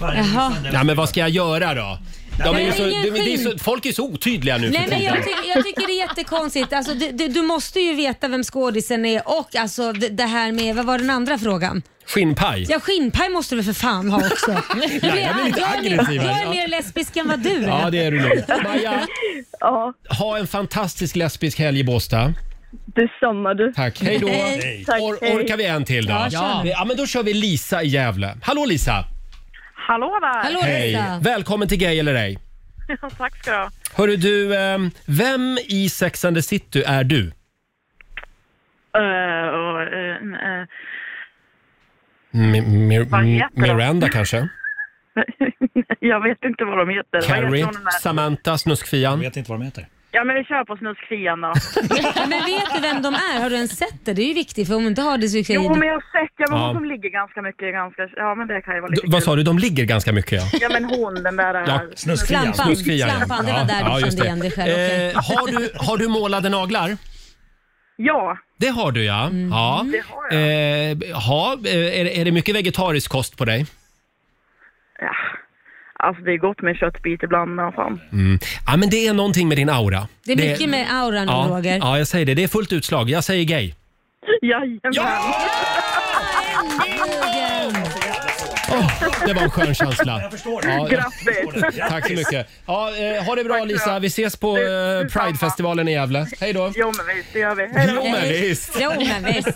Jaha.
Nej, men vad ska jag göra då? De är ju så, det, det är så, folk är så otydliga nu
Nej,
för
men
tiden.
jag, tycker- jag tycker det är jättekonstigt. Alltså, du, du, du måste ju veta vem skådisen är och alltså, det, det här med, vad var den andra frågan?
Skinnpaj.
Ja, skinnpaj måste du för fan ha också. Nu blir
jag blir lite
jag är mer-
aggressiv här.
Jag är mer lesbisk än vad du är.
Ja, det är du nog. Maja,
Ja,
ha en fantastisk lesbisk helg i Båstad.
detsamma du.
Tack, hej då.
Hej. Tack,
Or-
hej.
orkar vi en till då?
Ja, kör.
ja, men då kör vi Lisa i Gävle. Hallå Lisa!
Hallå där!
Välkommen till Gay eller ej.
Tack ska du ha.
Hörru du, ehm, vem i Sex and the City är du?
Eh, och, eh, eh,
Mi- mi-
Vad heter de?
Miranda kanske?
jag vet inte vad de heter. Vad heter
Carrie?
hon den där?
Samantha? Snuskfian?
Jag vet inte vad de heter.
Ja, men vi kör på snuskfian då.
Ja, men vet du vem de är? Har du ens sett det? Det är ju viktigt för om du inte har det så kan
Jo,
ju-
men jag har sett. Ja, men
Ja.
hon som ligger ganska mycket i ganska... Ja, men det kan ju vara lite
Vad sa du, de ligger ganska mycket ja.
Ja, men hon, den där...
Ja,
snuskfian.
Snuskfian, ja.
Slampan, det var
Ja,
där du
ja,
kände
just det.
igen dig själv, okej.
Eh, har, du, har du målade naglar?
Ja. Mm.
Det har du ja.
Mm.
ja.
Det har
jag. Eh, ja, eh, är, det- är det mycket vegetarisk kost på dig?
Ja. Alltså det är gott med köttbit ibland, men fan.
Mm. Ja, men det är någonting med din aura.
Det är mycket med auran
ja,
nu Roger.
Ja, jag säger det. Det är fullt utslag. Jag säger gay.
Jajamän!
Åh, det var en skön känsla.
Jag förstår
det.
Ja,
Grattis.
Tack så mycket. Ja, eh, ha det bra Lisa. Vi ses på eh, Pridefestivalen i Gävle. Hej då.
Jo, men visst, det gör vi. Hej då.
Jo men visst.
Jo, men visst.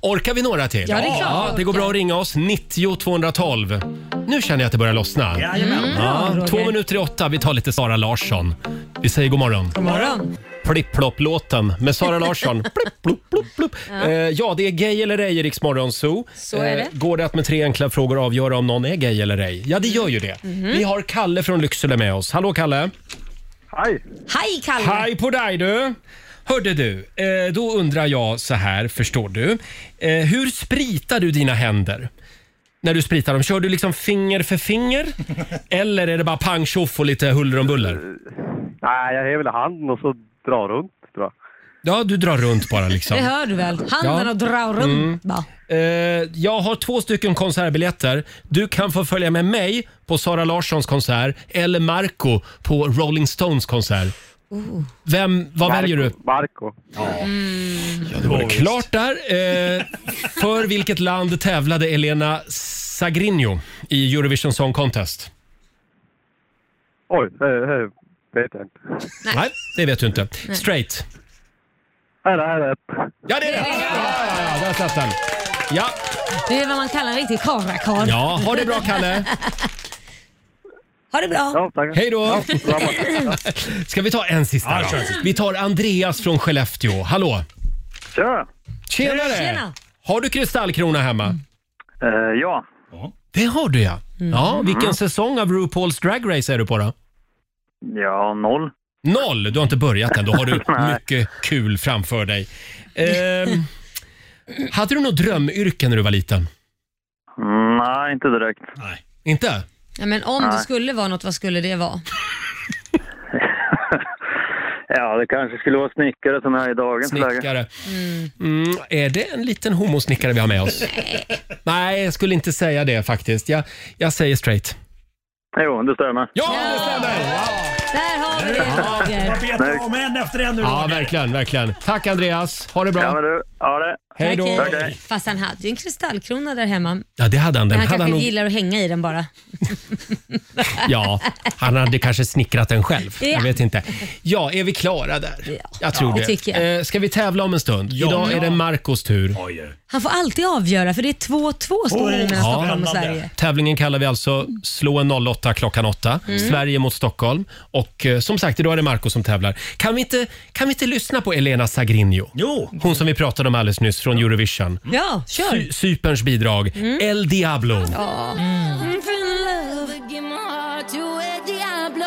Orkar vi några till?
Ja, det är klart vi
det går
orkar.
bra att ringa oss. 90 212. Nu känner jag att det börjar lossna.
Jajamän. Mm, bra, Roger.
två minuter i åtta. Vi tar lite Sara Larsson. Vi säger god morgon.
God morgon.
Plipplopp-låten med Sara Larsson. Plipp, plopp, plopp, plopp. Eh, Ja, det är gay eller ej i Rix Morgon Zoo.
Så är
Eh,
det.
Går det att med tre enkla frågor avgöra om någon är gay eller ej? Ja, det gör ju det.
Mhm.
Vi har Kalle från Lycksele med oss. Hallå Kalle!
Hej!
Hej Kalle!
Hej på dig du! Hörde du, eh, då undrar jag så här, förstår du. Eh, hur spritar du dina händer? När du spritar dem, kör du liksom finger för finger? Eller är det bara pang tjoff och lite huller om buller?
Nej, jag häver väl handen och så drar runt tror jag.
Ja, du drar runt bara liksom.
Det hör du väl? Handen
Ja.
och dra runt
Mm.
bara.
Eh, jag har två stycken konsertbiljetter. Du kan få följa med mig på Sara Larssons konsert eller Marco på Rolling Stones konsert.
Oh.
Vem, vad
Marco,
väljer du?
Marco.
Ja, det var det klart där. Eh, för vilket land tävlade Elena Sagrinho i Eurovision Song Contest?
Oj, det, det vet jag inte.
Nej, det vet du inte. Straight.
Här är det.
Ja, det är det! Ja, ja, ja, där satt den. Ja.
Det är vad man kallar en riktig karlakarl.
ja, ha det bra Kalle.
Ha det bra.
Ja, tack. Hej då. Ja, Ska vi ta en sista?
Ja,
då?
kör en sista.
Vi tar Andreas från Skellefteå. Hallå!
Tja!
Tjenare!
Tjena.
Har du kristallkrona hemma?
ja.
Det har du ja.
Mm.
Ja, vilken
Mm.
säsong av RuPaul's Drag Race är du på då?
Ja, noll.
Noll! Du har inte börjat än. Då har du
Nej.
mycket kul framför dig. Ehm, hade du något drömyrke när du var liten?
Mm, Nej, inte direkt.
Nej. Inte?
Ja, men om det
Nej.
skulle vara något, vad skulle det vara?
Ja, det kanske skulle vara snickare som jag är i dagens
Snickare. Mm, är det en liten homosnickare vi har med oss? Nej, jag skulle inte säga det faktiskt. Jag, jag säger straight.
Jo, det stämmer.
Ja, det stämmer!
Där har vi det Roger.
Jag betar av med en efter en nu
Ja,
Roger.
verkligen, verkligen. Tack Andreas, ha det bra.
Ja, men du. Ha det.
Hej då.
Tack, hej. Fast han hade ju en kristallkrona där hemma. Men
Ja, det hade han. Den
han
hade
kanske
han nog...
gillar att hänga i den bara.
Ja, han hade kanske snickrat den själv.
Ja.
Jag vet inte. Ja, är vi klara där? Jag tror
Ja,
det.
det tycker jag.
Eh, Ska vi tävla om en stund?
Ja.
Idag är det Marcos tur.
Han får alltid avgöra för det är 2-2 står det nu mellan Stockholm och Sverige.
Tävlingen kallar vi alltså Slå en 08 klockan 8.
Mm.
Sverige mot Stockholm. Och eh, som sagt, idag är det Marco som tävlar. Kan vi inte, kan vi inte lyssna på Elena Sagrinho? Jo. Hon som vi pratade om alldeles nyss från Eurovision.
Ja, kör. Mm.
Sy- Cyperns bidrag, El Diablo.
Ja.
I'm feeling love, give my heart to El Diablo.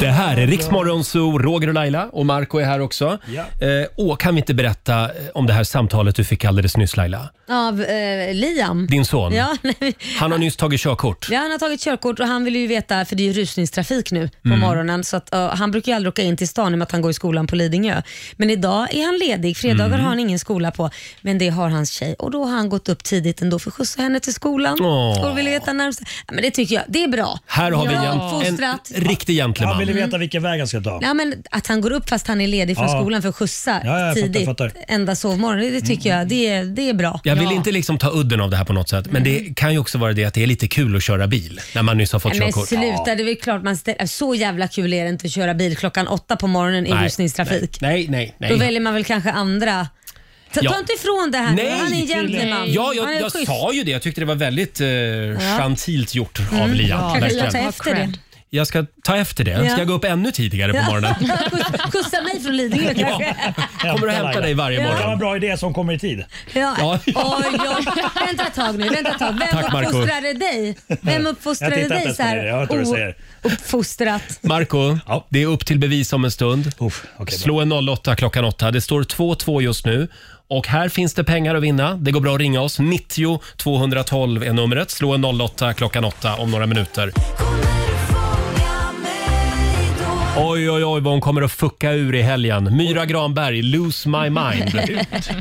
Det här är Riksmorgon Zoo, Roger och Laila och Marco är här också.
Ja.
Eh, åh, kan vi inte berätta eh, om det här samtalet du fick alldeles nyss Laila?
Av eh, Liam.
Din son.
Ja, nej,
Han har nyss tagit körkort.
Ja, han har tagit körkort och han vill ju veta, för det är ju rusningstrafik nu på
Mm.
morgonen, så att, eh, han brukar ju aldrig åka in till stan i och med att han går i skolan på Lidingö. Men idag är han ledig, fredagar
Mm.
har han ingen skola på, men det har hans tjej och då har han gått upp tidigt ändå för att skjutsa henne till skolan.
Åh.
Och vill veta närmast. Ja, men det tycker jag, det är bra.
Här har
bra
vi en, en
fostrat.
riktig gentleman.
Han ville veta vilken väg han ska ta.
Ja, men att han går upp fast han är ledig från
Ja.
skolan för att skjutsa
Ja, ja, jag fattar,
tidigt,
fattar.
enda sovmorgon, det, det tycker jag det är, det är bra.
Jag vill inte liksom ta udden av det här på något sätt, men det kan ju också vara det att det är lite kul att köra bil när man nyss har fått
Mm. Nej, men
körkort.
sluta, det är väl klart man ställer, Så jävla kul är det inte att köra bil klockan åtta på morgonen i
Nej,
rusningstrafik.
Nej, nej, nej.
Då väljer man väl kanske andra. Ta,
Ja.
ta inte ifrån det här nu. Han är en gentleman.
Ja,
Han
jag,
är
jag
schysst.
sa ju det. Jag tyckte det var väldigt eh, gentilt gjort av
Mm.
Liam.
Kanske ska
verkligen.
ta efter det.
Jag ska ta efter det.
Ja.
Ska jag gå upp ännu tidigare på morgonen?
Kuss- Kussa mig från Lidingö kanske.
Kommer att hämta dig varje
Det
morgon.
var en bra idé som kommer i tid.
Ja.
Ja.
Oj, oj. Vänta ett tag nu. Vänta ett tag. Vem
Tack, Marco.
uppfostrade dig? Vem
Jag
uppfostrade
tittar inte
dig
ens
så
på dig,
här
jag hör inte vad du säger.
ouppfostrat?
Marco, det är upp till bevis om en stund. Slå en 08 klockan 8. Det står 2-2 just nu. Och här finns det pengar att vinna. Det går bra att ringa oss. 90 212 är numret. Slå en 08 klockan 8 om några minuter. Oj, oj, oj vad hon kommer att fucka ur i helgen. Myra Granberg, Lose My Mind.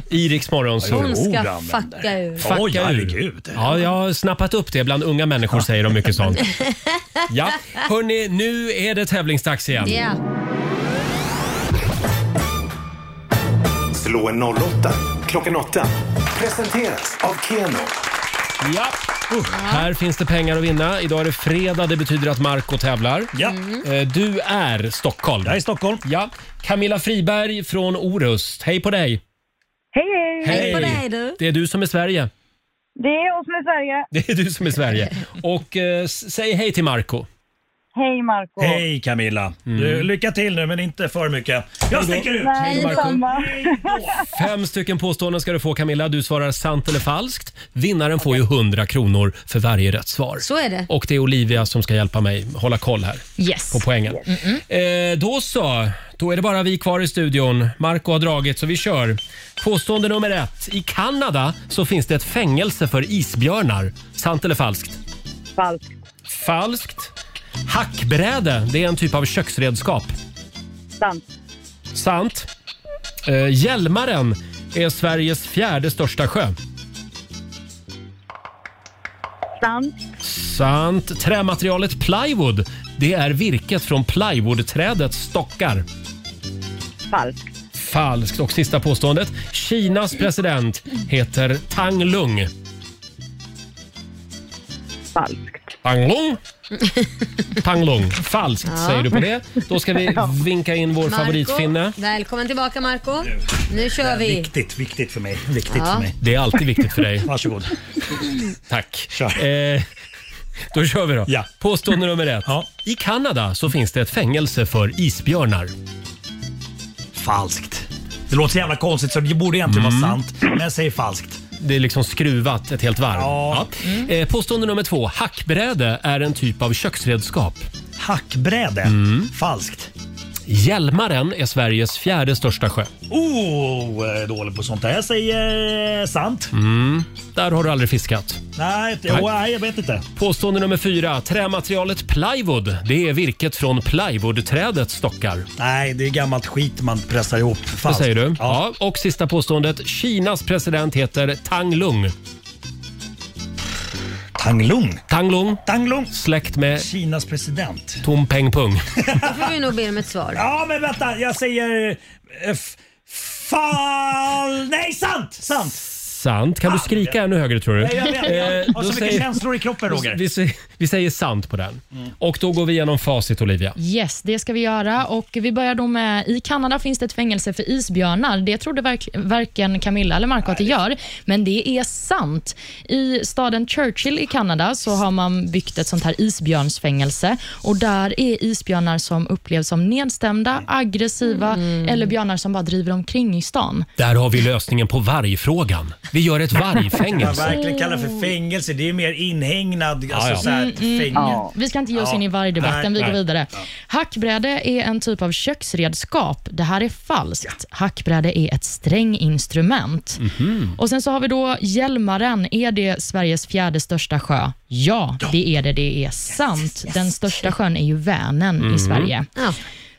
I Rix Morgon Zoo.
Hon ska fucka ur.
Fucka ur. Ja, jag har snappat upp det bland unga människor säger de mycket sånt. Ja, hörni, nu är det tävlingsdags igen.
Ja.
Slå en 08 klockan 8. Presenteras av Keno.
Ja. Här finns det pengar att vinna. Idag är det fredag, det betyder att Marco tävlar. Ja. Du är Stockholm. Jag är
Stockholm.
Ja. Camilla Friberg från Orust. Hej på dig!
Hej, hej!
Det är du som är Sverige.
Det är jag som är Sverige.
Det är du som är Sverige. Och eh, s- säg hej till Marco.
Hej, Marco.
Hej Camilla.
Mm.
Du, lycka till nu men inte för mycket. Jag sticker ut!
Nej, samma.
Fem stycken påståenden ska du få Camilla. Du svarar sant eller falskt. Vinnaren får ju 100 kronor för varje rätt svar.
Så är det.
Och det är Olivia som ska hjälpa mig hålla koll här
Yes.
på poängen. Eh, då så. Då är det bara vi kvar i studion. Marco har dragit, så vi kör. Påstående nummer ett. I Kanada så finns det ett fängelse för isbjörnar. Sant eller falskt?
Falskt.
Falskt. Hackbräde, det är en typ av köksredskap.
Sant.
Sant. Eh, Hjälmaren är Sveriges fjärde största sjö.
Sant.
Sant. Trämaterialet plywood, det är virket från plywoodträdets stockar.
Falskt.
Falskt. Och sista påståendet. Kinas president heter Tang Lung.
Falskt.
Tang Lung? Tang Lung. Falskt
Ja.
säger du på det. Då ska vi
Ja.
vinka in vår
Marco,
favoritfinne.
Välkommen tillbaka Marco. Nu kör vi.
Viktigt, viktigt för mig. Viktigt
Ja.
för mig.
Det är alltid viktigt för dig.
Varsågod.
Tack. Eh, Då kör vi då. Påstående nummer ett. I Kanada så finns det ett fängelse för isbjörnar.
Falskt. Det låter så jävla konstigt så det borde egentligen vara
Mm.
sant. Men jag säger falskt.
Det är liksom skruvat ett helt varv. Ja. Eh, Påstående nummer två. Hackbräde är en typ av köksredskap.
Hackbräde?
Mm.
Falskt.
Hjälmaren är Sveriges fjärde största sjö.
Oh, jag är dålig på sånt där. Jag säger eh, sant.
Mm. Där har du aldrig fiskat.
Nej, det-
Nej.
oh, nej, jag vet inte.
Påstående nummer fyra. Trämaterialet plywood, det är virket från plywoodträdet stockar.
Nej, det är gammalt skit man pressar ihop.
Vad
Falskt.
säger du? Alltså, Ja. Och sista påståendet. Kinas president heter Tang Lung.
Tang Lung?
Tang Lung.
Tang Lung.
Släkt med
Kinas president.
Tom Peng Pung.
Då får vi nog be om ett svar.
Ja, men vänta. Jag säger... eh, f- Fall... Nej, sant! Sant!
Sant. Kan du skrika ännu högre tror du?
Nej, jag vet. Jag har
Mm. Eh, då
så mycket
säger-
känslor i kroppen, Roger. Mm.
Vi, säger- vi säger sant på den. Och då går vi igenom facit Olivia.
Yes, det ska vi göra. Och vi börjar då med, I Kanada finns det ett fängelse för isbjörnar. Det trodde verk, varken Camilla eller Marco att det gör, men det är sant. I staden Churchill i Kanada så har man byggt ett sånt här isbjörnsfängelse. Och Där är isbjörnar som upplevs som nedstämda, aggressiva eller björnar som bara driver omkring i stan.
Där har vi lösningen på vargfrågan. Vi gör ett
Vad
vargfängelse.
man verkligen kallar för fängelse, det är ju mer inhägnad alltså,
ja.
Så här,
Mm, mm.
fängel.
Ja. Vi ska inte ge oss
Ja.
in i vargdebatten.
Nej,
Vi går
nej.
vidare. Hackbräde är en typ av köksredskap. Det här är falskt. Hackbräde är ett stränginstrument. Och Sen så har vi då Hjälmaren. Är det Sveriges fjärde största sjö? Ja, det är det. Det är sant. Den största sjön är ju Vänern
Mhm.
i Sverige.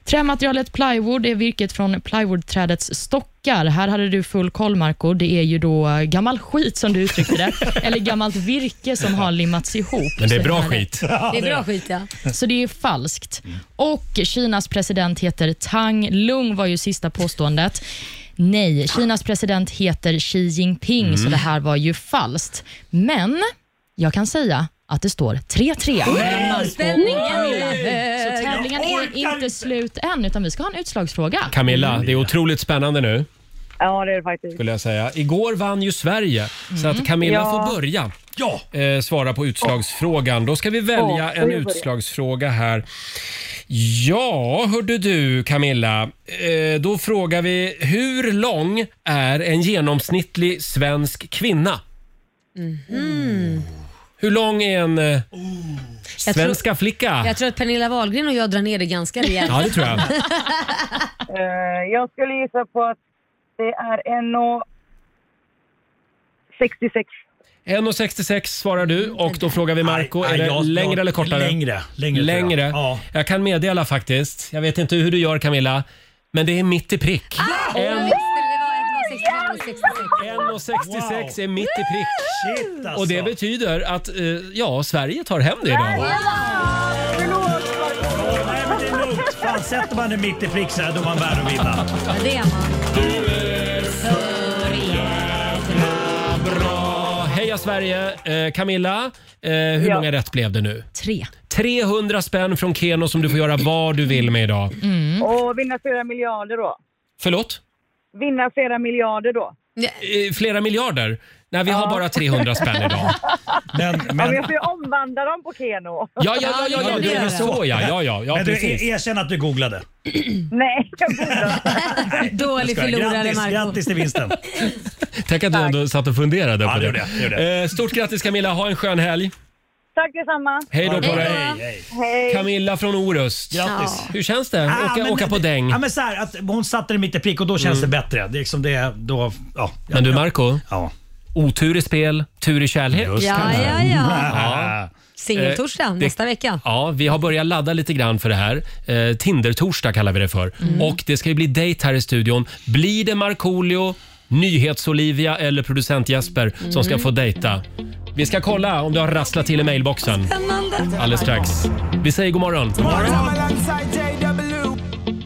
Trämaterialet plywood är virket från plywoodträdets stockar. Här hade du full koll, Marco. Det är ju då gammal skit, som du uttryckte det, eller gammalt virke som har limmats ihop.
Men det är bra
Så här-
skit.
Det är bra skit ja.
så det är falskt. Och Kinas president heter Tang Lung var ju sista påståendet. Nej, Kinas president heter Xi Jinping,
Mm.
så det här var ju falskt. Men jag kan säga att det står 3-3 mellan Marco och Camilla. Så tävlingen är inte slut än, utan vi ska ha en utslagsfråga.
Camilla, det är otroligt spännande nu
Ja, det är det faktiskt. Mm.
skulle jag säga. Igår vann ju Sverige så att Camilla
Ja.
får börja. Eh, svara på utslagsfrågan. Då ska vi välja
Ja, får
en
jag börja?
utslagsfråga här. Ja, hörde du Camilla. Eh, då frågar vi, hur lång är en genomsnittlig svensk kvinna? Hur lång är en eh,
Jag Mhm. tror-
svenska flicka?
Jag tror att Pernilla Wahlgren och jag drar ner det ganska rejält.
Ja, det tror jag.
Eh, jag skulle gissa på att det är en och 66.
1,66 svarar du och då frågar vi Marco, är
nej,
det
jag-
längre
jag-
eller kortare?
längre, längre tror jag.
längre. Jag. kan meddela faktiskt, jag vet inte hur du gör Camilla, men det är mitt i prick. En- 1,66 är mitt i prick.
Shit, alltså.
Och det betyder att, eh, ja, Sverige tar hem det idag.
Nej, men det är lugnt. Fan, sätter man det mitt i prick så här, då är man värd att vinna.
Ja, det är man.
Bra. Heja Sverige! Eh, Camilla, eh, hur
Ja.
många rätt blev det nu?
Tre.
300 spänn från Keno som du får göra vad du vill med idag. Mm.
Och vinna flera miljarder då.
Förlåt?
Vinna flera miljarder då.
Eh, Flera miljarder? Nej, vi har bara 300 spänn idag.
Men,
Ja, men jag får ju omvandla dem på Keno.
Ja, ja, ja, ja, ja, det är så ja. ja, ja, ja
men du,
precis.
er- erkänn att du googlade.
Nej, jag borde.
Jag
Dålig
skojar.
förlorare
grattis,
Marco.
grattis till vinsten.
Tänk att du ändå satt och funderade på
Ja, det
det.
gjorde jag, det gjorde
Eh, Stort grattis Camilla, ha en skön helg.
Tack detsamma.
Hej då på dig.
Hej.
Camilla från Orust.
Grattis.
Hur känns det?
Ah,
Åka,
men
åka
det-
på däng.
Ja, men så här, att hon satte den mitt i prick och då känns
Mm.
det bättre. Det är liksom det, då, ja.
Men du Marco,
ja.
otur i spel, tur i kärlek.
Just Ja, det. ja, ja.
Ja.
Singeltorsdag
Mm. Eh, det-
nästa vecka.
Ja, vi har börjat ladda lite grann för det här. Eh, Tinder-torsdag kallar vi det för.
Mm.
Och det ska ju bli dejt här i studion. Blir det Markoolio, Nyhets-Olivia eller producent Jesper som ska
Mm.
få dejta? Vi ska kolla om det har rasslat till i mailboxen. Alldeles strax. Vi säger god morgon.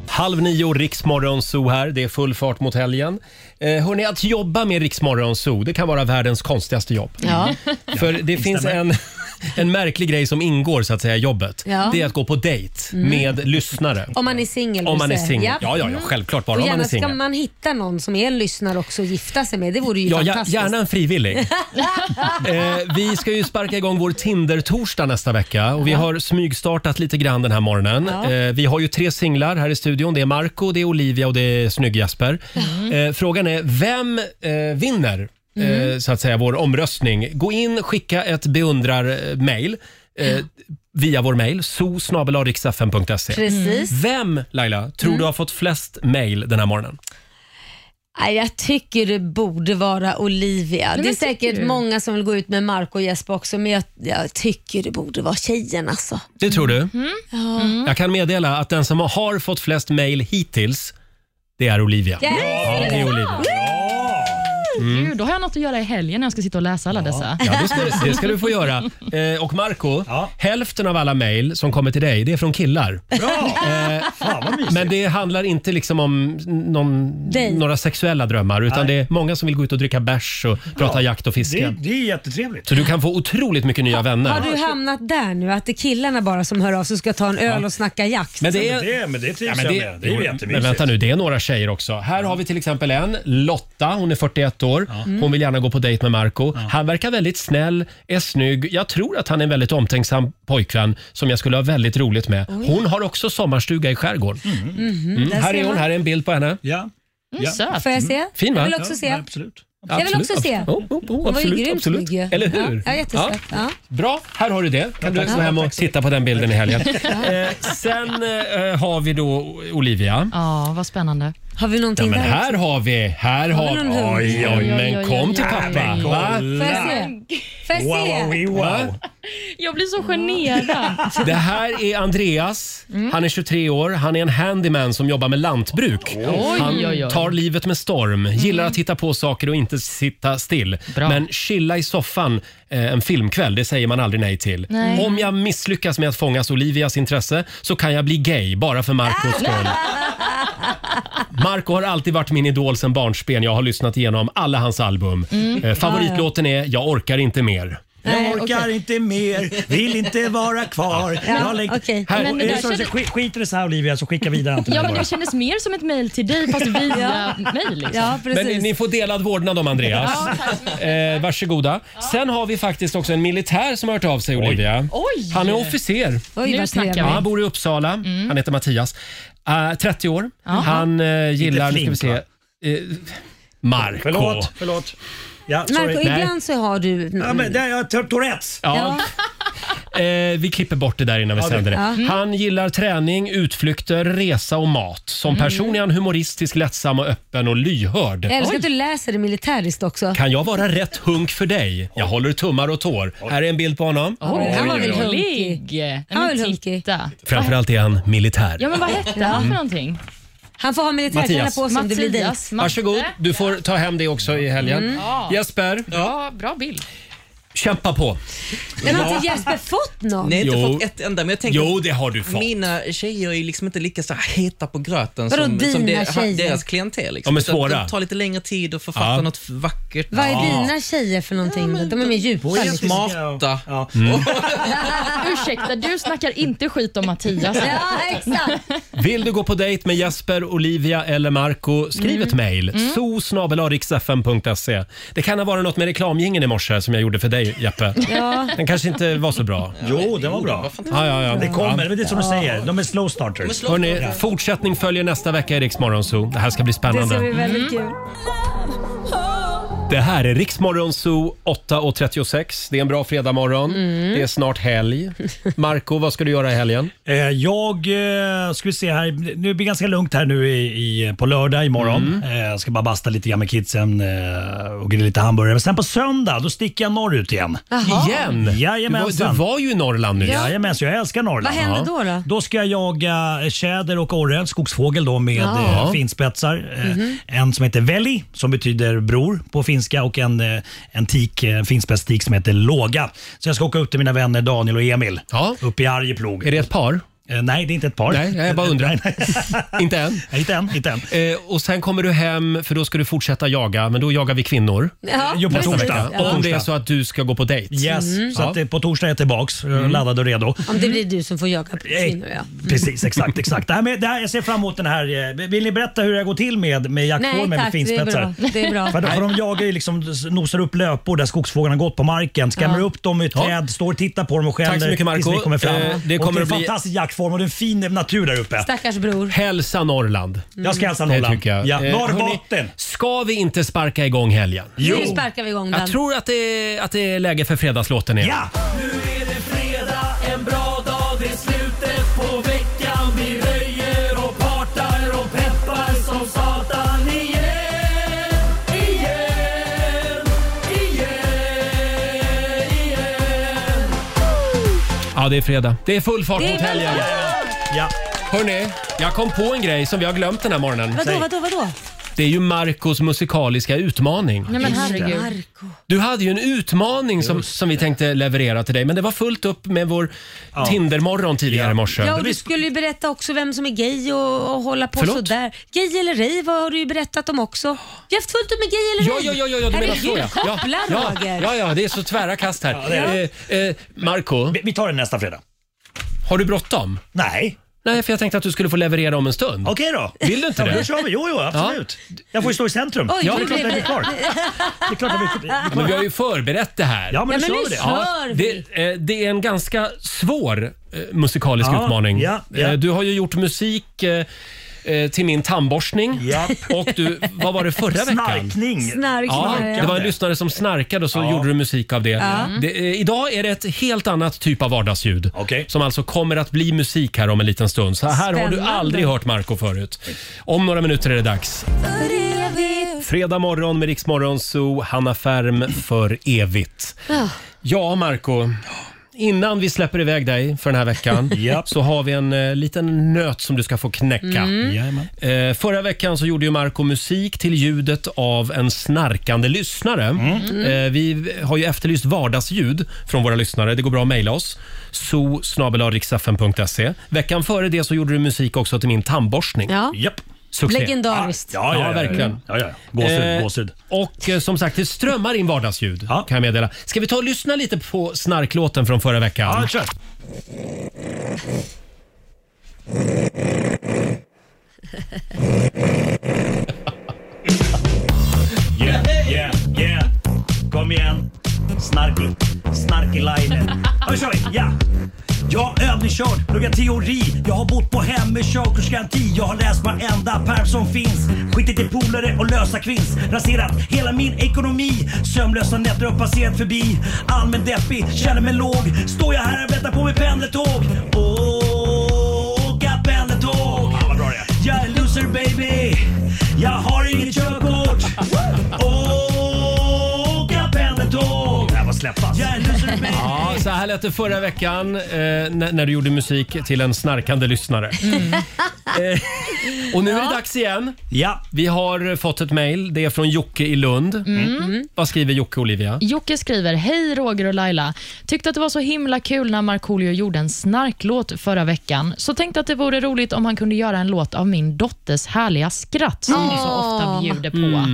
Halv nio, Riksmorgon Zoo här. Det är full fart mot helgen. Eh, hörni, att jobba med Riksmorgon Zoo, det kan vara världens konstigaste jobb.
Ja.
För det finns en, en märklig grej som ingår så att säga i jobbet.
Ja.
Det är att gå på dejt
Mm.
med lyssnare.
Om man är singel.
Om man är
Bosse.
singel.
Japp.
Ja, ja, ja,
Mm.
självklart bara
och
om man
gärna
är
ska
singel.
man hitta någon som är en lyssnare också och gifta sig med. Det vore ju
Ja, ja,
fantastiskt.
gärna en frivillig. Eh, vi ska ju sparka igång vår Tinder-torsdag nästa vecka och vi har smygstartat lite grann den här morgonen.
Ja.
Eh, vi har ju tre singlar här i studion. Det är Marco, det är Olivia och det är Snygg-Jesper. Eh, frågan är, vem eh, vinner eh,
Mm.
så att säga vår omröstning? Gå in, skicka ett beundrar-mail. Eh, via vår mail, so.riksfn.se.
Precis.
Vem, Laila, tror du har fått flest mail den här morgonen?
Nej, jag tycker det borde vara Olivia.
men
det är
jag
säkert
tycker det.
många som vill gå ut med Marco och Jesper också, men jag, jag tycker det borde vara tjejen alltså.
Det tror du?
Ja.
Jag kan meddela att den som har fått flest mejl hittills, det är Olivia.
Yes!
Ja, det är Olivia. Mm.
Gud, då har jag något att göra i helgen när jag ska sitta och läsa alla dessa.
Ja, det, ska, det ska du få göra. Eh, och Marco, hälften av alla mejl som kommer till dig, det är från killar.
Alltså.
Bra!
Eh, men det handlar inte liksom om någon,
Dig.
några sexuella drömmar, utan
Nej.
det är många som vill gå ut och dricka bärs och prata jakt och
Det,
fiske.
det är jättetrevligt.
Så du kan få otroligt mycket nya vänner.
Har du hamnat där nu, att det är killarna bara som hör av sig och ska ta en öl och snacka jakt?
Men det är,
men det trivs jag med. Det är ju
jo,
jättemysigt.
Men vänta nu, det är några tjejer också. Här har vi till exempel en, Lotta, hon är 41 år.
Mm.
Hon vill gärna gå på dejt med Marco. Han verkar väldigt snäll, är snygg. Jag tror att han är en väldigt omtänksam pojkvän som jag skulle ha väldigt roligt med.
Oj.
Hon har också sommarstuga i skärgården.
Mhm,
Mm,
där
Här
ser
är hon,
man.
här är en bild på henne.
Ja.
Mm,
Ja. söt. Får jag se?
Fin va?
Jag vill också se. Ja,
absolut.
Jag vill också se.
Oh, oh, oh,
Hon var ju
absolut,
grymt
absolut.
snygg ju.
Eller hur?
Ja, ja jättesöt. Ja.
Bra, här har du det. Kan du
tack.
gå hem
Ja,
och titta på den bilden i helgen. eh, sen eh, har vi då Olivia.
Ja, vad spännande.
Har vi
Ja,
någonting
men
där?
här har vi, här
Har vi
har vi.
någon hund?
Oj, oj,
Oj, oj,
men
oj,
kom
oj,
till
oj.
pappa.
Nej,
Va?
Får jag se? Får jag se?
Jag blir så generad.
Det här är Andreas.
Mm.
Han är 23 år. Han är en handyman som jobbar med lantbruk.
Oj,
han
oj, Mm. oj.
tar livet med storm, gillar att hitta på saker och inte sitta still. Men chilla i soffan eh, en filmkväll, det säger man aldrig nej till.
Nej.
Om jag misslyckas med att fångas Olivias intresse så kan jag bli gay bara för Marcos skull. Marco har alltid varit min idol sen barnsben. Jag har lyssnat igenom alla hans album.
Mm.
Eh, favoritlåten är Jag orkar inte mer.
Jag orkar inte mer, vill inte vara kvar.
Ja,
Jag har läggt-
okej.
Här,
Men
och,
det där
eh, så, så,
kändes-
skit, skit i det så här Olivia så skicka vidare Anton.
Ja, men
bara.
det kändes mer som ett mejl till dig fast via
Ja.
mejl. Liksom.
Ja,
Men ni, ni får delad vårdnad om Andreas.
Ja, tack
eh, varsågoda. Sen har vi faktiskt också en militär som har hört av sig, Olivia.
Oj.
Han är officer.
Oj, Nu vad snackar
ja,
vi.
han bor i Uppsala. Han heter Mattias. Eh, 30 år.
Jaha.
Han eh, gillar...
Lite
Nu ska vi
flink,
se. Eh, Marco.
Förlåt, förlåt. Ja, sorry.
Marco, ibland så har du...
Ja, men det, jag har Tour- Tourettes.
Ja. Eh, vi klipper bort det där innan vi
Ja, det-
sänder det.
Ja. Mm.
Han gillar träning, utflykter, resa och mat. Som person är han humoristisk, lättsam och öppen och lyhörd.
Jag älskar att du läser det militäriskt också.
Kan jag vara rätt hunk för dig? Jag håller tummar och tår. Här är en bild på honom.
Oj, han var väl
oj.
hunkig?
Han var väl
hunkig.
Framförallt är han militär.
Ja, men vad hette han för någonting?
Han får ha militärkläderna
Mattias.
på sig Mm. om det blir dejt.
Varsågod, du får ta hem det också i helgen.
Mm. Ja.
Jesper,
Ja, bra bild.
kämpa på.
Men har
Ja.
inte Jesper fått någon?
Nej, inte
Jo.
fått ett enda. Men jag tänker
Jo,
att
det har du fått.
Mina tjejer är liksom inte lika så här heta på gröten
Vadå,
som, som
dina
det, ha-
tjejer?
deras klientel. Liksom.
De är
Så att
svåra.
Det tar lite längre tid att författa
Ja.
något vackert.
Vad är dina tjejer för någonting? då? de är mer djupa.
De är
liksom.
smarta.
Mm.
Ursäkta, du snackar inte skit om Mattias.
Ja, exakt.
Vill du gå på dejt med Jesper, Olivia eller Marco? Skriv ett mejl. Mm. Det kan ha varit något med reklamjingeln i morse som jag gjorde för dig, Jeppe.
Ja.
Den kanske inte var så bra.
Jo, den var bra.
Ja, ja, ja.
Det kommer, men det är som du
Ja.
säger, de är slow starters.
Hörrni, fortsättning följer nästa vecka i Rix Morgonzoo. Det här ska bli
Det
spännande.
ska bli väldigt kul.
Det här är Riksmorgon Zoo 8.36. Det är en bra fredagmorgon.
Mm.
Det är snart helg. Marco, vad ska du göra i helgen?
Eh, Jag eh, ska vi se här, nu blir det ganska lugnt här nu i, i, på lördag imorgon. Eh, Jag ska bara basta lite grann med kidsen eh, och grilla lite hamburgare. Men sen på söndag, då sticker jag norrut igen.
Jaha. Igen? Du
Jajamensan.
var- du var ju i Norrland nyss.
Ja. Jajamensan, jag älskar Norrland.
Vad händer då då?
Då ska jag jaga tjäder och orre, skogsfågel då med
Ja.
eh, finspetsar. Eh,
Mhm.
En som heter Veli, som betyder bror på finska och en, eh, en tik, eh, en finspetstik som heter Låga. Så jag ska åka upp till mina vänner Daniel och Emil upp i Arjeplog. Är
det ett par?
Eh, nej, det är inte ett par.
Nej, nej, jag bara undrar. inte än?
inte än. Inte än.
Eh, och sen kommer du hem, för då ska du fortsätta jaga, men då jagar vi kvinnor.
Ja, Jo, på precis. torsdag.
Om
På torsdag.
det är så att du ska gå på dejt.
Yes,
Mm.
så att, eh, på torsdag är jag tillbaks, eh, laddad och redo. Eh,
Om det blir du som får jaga kvinnor ja. Mm.
Precis, exakt. exakt. Det här med, det här, jag ser fram emot den här. eh, Vill ni berätta hur det går till med, med
Nej,
jakthorn med,
tack,
med finspetsar?
det är bra. Det är bra.
För, för de jagar ju liksom, nosar upp löpor där skogsfåglarna gått på marken, skrämmer
Ja.
upp dem i
Ja.
träd, står och tittar på dem och skäller
Tack så mycket, Marco.
tills ni kommer fram.
Eh, det
det, och
kommer
det är
att
en
bli-
fantastisk jaktform och det är en fin natur där uppe.
Stackars bror.
Hälsa Norrland.
Jag ska hälsa Norrland.
Det tycker jag.
Ja,
Eh,
Norrbotten.
hörni, Ska vi inte sparka igång helgen?
Nu sparkar vi igång den.
Jag tror att det, är- att det är läge för fredagslåten igen.
Nu är det fredag, en bra dag, det är slutet på veckan. Vi röjer och partar och peppar som satan igen. Igen, igen, igen.
Ja, det är fredag. Det är full fart
Det är
mot
väl-
helgen.
Ja.
Hörni, jag kom på en grej som vi har glömt den här morgonen.
Vadå, vadå, vadå?
Det är ju Marcos musikaliska utmaning.
Nej men herregud.
Du hade ju en utmaning som, som vi tänkte leverera till dig, men det var fullt upp med vår Tindermorgon tidigare i morse.
Ja, och du skulle ju berätta också vem som är gay och, och hålla på
Förlåt?
sådär. Gay eller ej vad har du ju berättat om också. Vi har haft fullt upp med gay eller
Ja,
ej.
ja, ja, ja, ja, du menar så ja.
Herregud,
Ja,
koppla
ja,
Roger.
ja, ja, det är så tvära kast här.
det är
Eh, eh, Marco
Vi tar det nästa fredag.
Har du bråttom?
Nej.
Nej, för jag tänkte att du skulle få leverera om en stund.
Okej då.
Vill du inte
Ja, men
det?
då kör vi. Jo, jo, absolut. Jag får ju stå i centrum.
Oj,
ja, det
nu
är klart
blev
jag blir kvar. Det är klart jag blir kvar.
Men vi har ju förberett det här.
Ja, men nu Ja, men kör vi nu det. kör vi.
det, eh, det är en ganska svår eh, musikalisk
Ja,
utmaning.
ja, ja.
Eh, Du har ju gjort musik eh, eh, till min tandborstning. Och du, vad var det förra veckan?
Snarkning.
Snark,
Ja,
snark.
det var en lyssnare som snarkade och så gjorde du musik av det.
Ja.
det eh, idag är det ett helt annat typ av vardagsljud som alltså kommer att bli musik här om en liten stund. Så här har du
Spännande.
aldrig hört Marco förut. Om några minuter är det dags. Fredag morgon med Riksmorgon Zoo, Hanna Färm för evigt.
Ah.
Ja, Marco. Innan vi släpper iväg dig för den här veckan så har vi en eh, liten nöt som du ska få knäcka.
Mm.
Eh, förra veckan så gjorde ju Marco musik till ljudet av en snarkande lyssnare.
Mm.
Eh, vi har ju efterlyst vardagsljud från våra lyssnare. Det går bra att mejla oss. so Veckan före det så gjorde du musik också till min tandborstning.
Ja.
Japp.
Succé.
Legendariskt.
Ja, ja, verkligen.
Ja, ja. Gåshud,
Eh,
gåshud.
Och eh, som sagt, det strömmar in vardagsljud kan jag meddela. Ska vi ta och lyssna lite på snarklåten från förra veckan?
Ja, kör. Yeah, yeah, yeah. Kom igen. Snarky, snarky linen. Ja, nu kör vi. Ja. Jag är övningskörd, pluggar teori. Jag har bott på hem med körkortsgaranti. Jag har läst varenda pärm som finns. Skitit i polare och lösa kvinns. Raserat hela min ekonomi. Sömnlösa nätter har passerat förbi. Allmän deppig, känner mig låg. Står jag här och väntar på mitt pendeltåg. Åka pendeltåg. Ja, vad bra det är. Jag är loser baby. Jag har inget körkort. Åka pendeltåg. Det här var släppas. Jag är loser baby.
Ja, så här lät det förra veckan eh, när, när du gjorde musik till en snarkande lyssnare.
Mm.
Eh, och nu är det dags igen.
Ja.
Vi har fått ett mejl. Det är från Jocke i Lund.
Mm.
Vad skriver Jocke, Olivia?
Jocke skriver, hej Roger och Laila. Tyckte att det var så himla kul när Markoolio gjorde en snarklåt förra veckan. Så tänkte att det vore roligt om han kunde göra en låt av min dotters härliga skratt som hon så ofta bjuder på.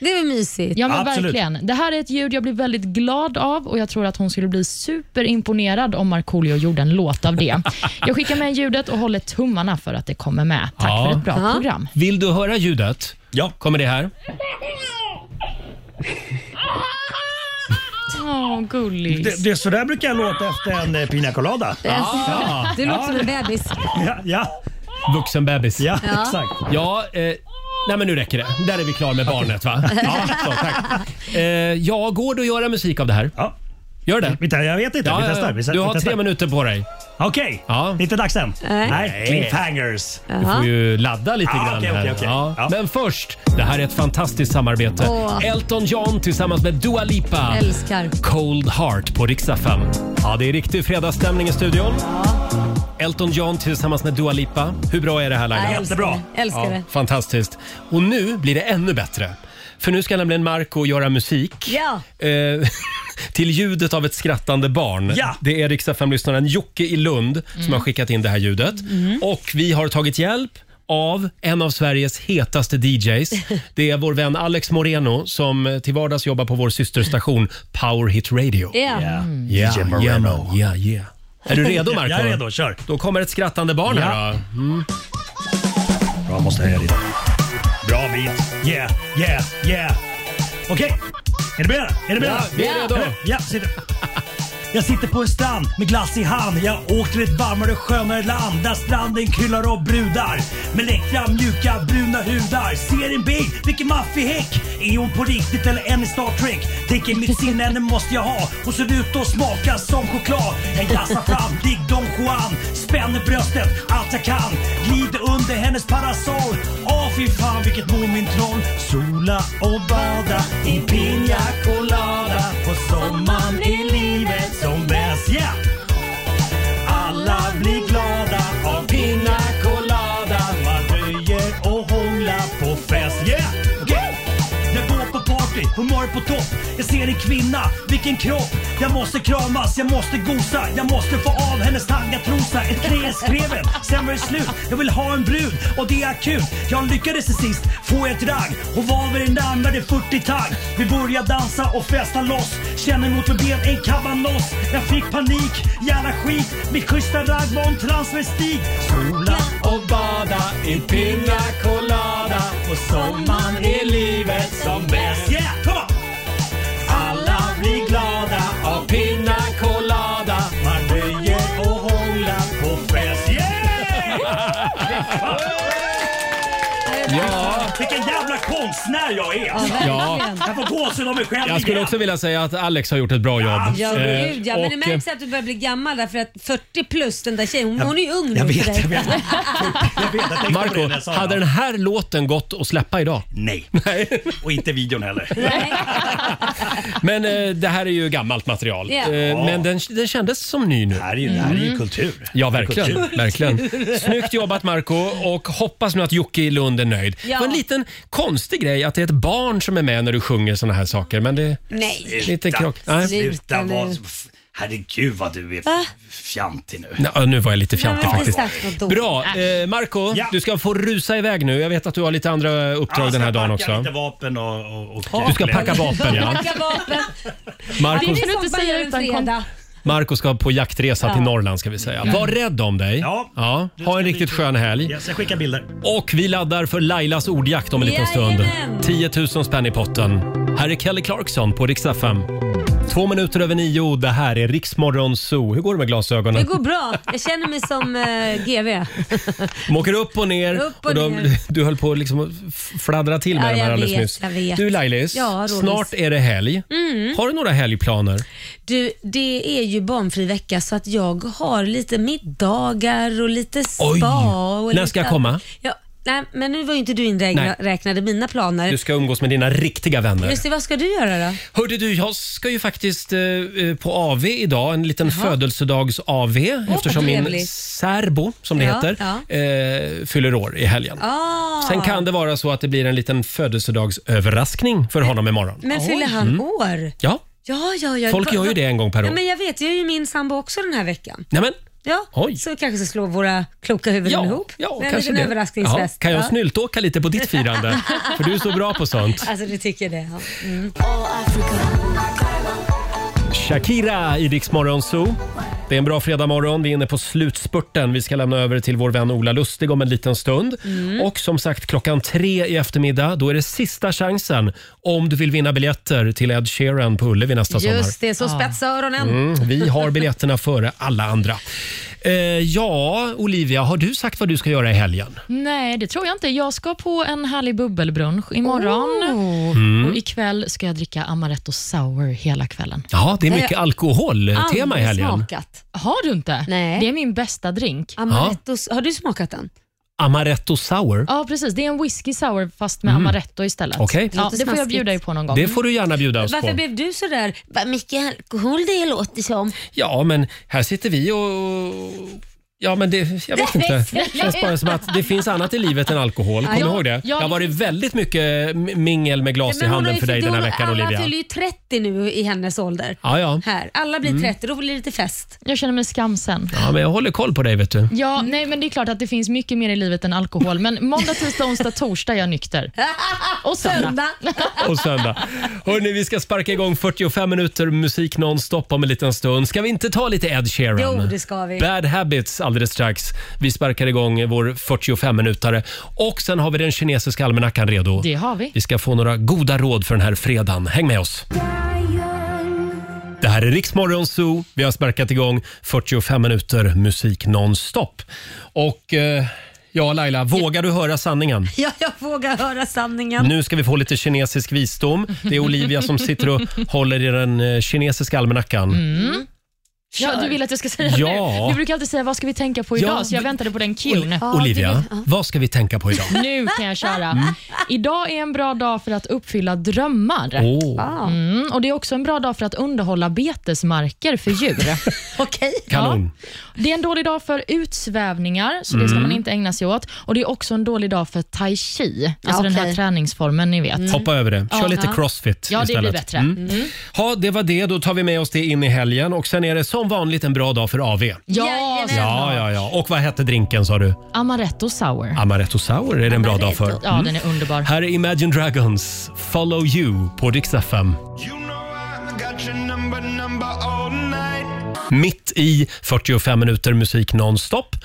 Det är väl mysigt?
Ja, men verkligen. Det här är ett ljud jag blir väldigt glad av och jag tror att hon skulle bli superimponerad om Markoolio gjorde en låt av det. Jag skickar med ljudet och håller tummarna för att det kommer med. Tack
Ja.
för ett bra program.
Vill du höra ljudet?
Ja.
Kommer det här?
Åh, gullis.
Det, det, så där brukar jag låta efter en eh, pina colada.
Ja. Du låter
Ja.
som en bebis.
Ja, ja.
Vuxen bebis.
Ja,
Ja.
exakt.
Ja, eh, nej men nu räcker det. Där är vi klara med barnet va? Ja, så, tack. Eh, ja, går det att göra musik av det här?
Ja.
Gör det?
Vi tar, jag vet inte.
Ja,
vi
ja, ja.
testar. Vi
Du har
vi testar.
tre minuter på dig.
Okej,
ja.
inte dags än.
Nej.
cliffhangers.
Du får ju ladda lite
Ja,
grann
okej,
här.
okej, okej.
Ja. Men först, det här är ett fantastiskt samarbete.
Åh.
Elton John tillsammans med Dua Lipa.
Älskar.
Cold Heart på riksdag 5. Ja, det är riktig fredagsstämning i studion. Elton John tillsammans med Dua Lipa. Hur bra är det här Laila?
Ja, jag älskar Jättebra. det. Älskar det.
Fantastiskt. Och nu blir det ännu bättre. För nu ska nämligen Marco göra musik.
Ja.
Eh, till ljudet av ett skrattande barn.
Ja.
Det är riksdagsfemlyssnaren Jocke i Lund som
Mm.
har skickat in det här ljudet. Och vi har tagit hjälp av en av Sveriges hetaste DJs. Det är vår vän Alex Moreno som till vardags jobbar på vår systerstation Power Hit Radio.
Ja.
Yeah, yeah, man. yeah, yeah. Är du redo Marco?
Jag är redo, kör.
Då kommer ett skrattande barn här då.
Bra, måste höja lite. Bra bit. Yeah, yeah, yeah. Okej, är ni beredda? Är ni beredda?
Ja, vi är redo.
Ja, sitter. Jag sitter på en strand med glass i hand. Jag åker till ett varmare skönare land där stranden kryllar av brudar med läckra mjuka bruna hudar. Ser en bild, vilken maffig häck! Är hon på riktigt eller en i Star Trek? Tänker mitt sinne, henne måste jag ha. Hon ser ut och smakar som choklad. Jag glassar fram, dig Don Juan. Spänner bröstet allt jag kan. Glider under hennes parasoll. Åh fy fan vilket mål min troll. Sola och bada i piña colada. På sommaren är livet som bäst. Yeah! Alla blir glada av piña colada. Man röjer och hånglar på fest. Yeah! Okej! Jag går på party, humör på topp. Jag ser en kvinna, vilken kropp. Jag måste kramas, jag måste gosa. Jag måste få av hennes tangatrosa. Ett knä är skrevet, sen var det slut. Jag vill ha en brud och det är akut. Jag lyckades till sist få ett ragg. Hon var vid den närmare 40 tagg. Vi börjar dansa och festa loss. Känner mot mitt ben en kabanoss. Jag fick panik, jävla skit. Mitt schyssta ragg var en transvestit. Sola och bada i pina colada. På sommaren är livet som bäst. Yeah, come on! Alla blir glada av pina colada. Man röjer och hånglar på fest. Yeah!
Ja.
Vilken jävla konstnär jag är!
Ja.
Jag får gåshud av mig själv
Jag skulle
lite
också vilja säga att Alex har gjort ett bra jobb.
Ja,
Eh,
gud, ja. Men det
och, eh,
märks att du börjar bli gammal där för att 40 plus den där tjejen, hon,
Jag-
hon är ju ung
jag
nu
vet,
för dig.
jag vet.
tänkte på det när jag
eh, Marco,
sa
hade
det.
den här låten gått att släppa idag?
Nej. Och inte videon heller.
Men eh, det här är ju gammalt material.
Ja.
Eh, men den, den kändes som ny nu. Det
här är ju,
det här är ju
Mm.
kultur.
Ja,
Det är
verkligen.
kultur.
verkligen.
Kultur.
Snyggt jobbat Marco och hoppas nu att Jocke i Lund är nöjd.
Ja.
Det var en liten konstig grej att det är ett barn som är med när du sjunger såna här saker. Men det...
Nej.
Lite krock. Nej.
Sluta, sluta vad, Herregud vad du är
Va?
fjantig nu.
Ja, nu var jag lite fjantig
Nej, men
faktiskt.
precis. Något dåligt.
Bra.
Äh.
Eh, Marco,
Ja.
du ska få rusa iväg nu. Jag vet att du har lite andra uppdrag den här dagen
Jag ska
också.
packa lite vapen och... och, och
Du ska packa vapen, ja.
Packa vapen.
Marco,
Ja, det är inte säga utan fredag.
Marco ska på jaktresa
Ja.
till Norrland ska vi säga.
Ja.
Var rädd om dig.
Ja.
Ha en riktigt skön helg.
Yes, jag skickar bilder.
Och vi laddar för Lailas ordjakt om en liten stund.
Jajamän.
10 000 spänn i potten. Här är Kelly Clarkson på Rix FM. Två minuter över nio. Det här är Riksmorgon Zoo. Hur går det med
Det
glasögonen?
går bra. Jag känner mig som eh, GV.
De åker upp och ner.
Upp och
de,
ner.
Du höll på att liksom f- fladdra till med
Ja,
dem här
jag
alldeles
vet,
nyss.
jag vet.
Du Lailis,
Ja, Rolis.
snart är det helg.
Mm. Eh.
Har du några helgplaner?
Du, det är ju barnfri vecka så att jag har lite middagar och lite spa.
Oj.
Och
När
lite...
ska jag komma?
Ja, nej, men nu var ju inte du
Nej.
inräknade mina planer.
Du ska umgås med dina riktiga vänner.
Just det, vad ska du göra då?
Hörde du, jag ska ju faktiskt eh, eh, på AV idag, en liten
Jaha.
födelsedags-AV eftersom min
trevligt.
särbo, som det
Ja,
heter,
ja.
Eh, fyller år i helgen.
Ah.
Sen kan det vara så att det blir en liten födelsedagsöverraskning för honom imorgon.
Men fyller han
Mm.
år?
Ja.
Ja, ja, ja.
Folk gör ju det en gång per år.
Ja, men jag vet, jag är ju min sambo också den här veckan.
Nej, men,
Ja,
Oj.
så vi kanske ska slå våra kloka huvuden
Ja,
ihop.
ja
en
kanske
liten
det.
överraskningsfest.
Ja, kan jag
Ja.
snyltåka lite på ditt firande? för du är så bra på sånt.
Alltså du tycker det? Ja. Mm.
Shakira i Rix Morgon Zoo. Det är en bra fredagmorgon. Vi är inne på slutspurten. Vi ska lämna över till vår vän Ola Lustig om en liten stund.
Mm.
Och som sagt, klockan tre i eftermiddag, då är det sista chansen om du vill vinna biljetter till Ed Sheeran på Ullevi nästa sommar.
Just det, så spetsa öronen.
Mm, vi har biljetterna före alla andra. Eh, ja, Olivia, har du sagt vad du ska göra i helgen?
Nej, det tror jag inte. Jag ska på en härlig bubbelbrunch imorgon.
Mm.
Och ikväll ska jag dricka Amaretto Sour hela kvällen.
Ja, det är
Nej,
mycket
Eh,
jag-
alkoholtema Mm, i
Aldrig
helgen.
Smakat. Har du inte? Nej. Det är min bästa drink.
Amaretto-
Har du smakat den?
Amaretto sour.
Ja, precis. Det är en whisky sour fast med
Mm.
amaretto istället.
Okej.
Ja,
Låter
det får jag
smaskigt.
bjuda dig på någon gång.
Det får du gärna bjuda oss
Varför
på.
blev du så där, vad mycket alkohol det låter som?
Ja, men här sitter vi och Ja, men det, jag vet inte. Det känns bara som att det finns annat i livet än alkohol. Kom
Ja,
ihåg det. Det
ja.
har varit väldigt mycket m- mingel med glas i handen för dig den här veckan,
Alla
Olivia.
fyller ju 30 nu i hennes ålder.
Ja, ja.
Här. Alla blir
Mm.
30, då blir det lite fest.
Jag känner mig skamsen.
Ja, men jag håller koll på dig, vet du.
Ja, Mm. nej men det är klart att det finns mycket mer i livet än alkohol. Men måndag, tisdag, onsdag, torsdag är jag nykter. Och söndag.
Och söndag. Hörrni, vi ska sparka igång 45 minuter musik nonstop om en liten stund. Ska vi inte ta lite Ed Sheeran?
Jo, det ska vi.
Bad Habits alldeles strax. Vi sparkar igång vår 45-minutare. Och sen har vi den kinesiska almanackan redo.
Det har vi.
Vi ska få några goda råd för den här fredagen. Häng med oss! Det här är Riksmorgon Zoo. Vi har sparkat igång 45 minuter musik nonstop. Och eh, ja, Laila, vågar du höra sanningen?
Ja, jag vågar höra sanningen.
Nu ska vi få lite kinesisk visdom. Det är Olivia som sitter och håller i den eh, kinesiska almanackan.
Mm. Ja, du vill att jag ska säga
Ja.
det? Du brukar alltid säga vad ska vi tänka på
Ja,
idag, så jag väntade på den cuen.
Olivia, vad ska vi tänka på idag?
Nu kan jag köra.
Mm.
Idag är en bra dag för att uppfylla drömmar.
Åh. Ah.
Mm, och Det är också en bra dag för att underhålla betesmarker för djur.
Okej.
Kanon.
Det är en dålig dag för utsvävningar, så det ska
Mm.
man inte ägna sig åt. Och Det är också en dålig dag för tai chi,
Ja,
alltså den här
okej. Mm.
träningsformen ni vet.
Hoppa över det. Kör
Ja.
lite
Ja.
crossfit
Ja, det
istället.
blir bättre.
Mm.
Mm.
Ha, det var det. Då tar vi med oss det in i helgen. Och Sen är det som vanligt en bra dag för AV.
Ja,
ja, ja, ja. Och vad hette drinken sa du?
Amaretto sour.
Amaretto Mm. sour är det en bra dag för.
Ja, den är underbar.
Här är Imagine Dragons, Follow You på Dix FM. Mitt i 45 minuter musik nonstop.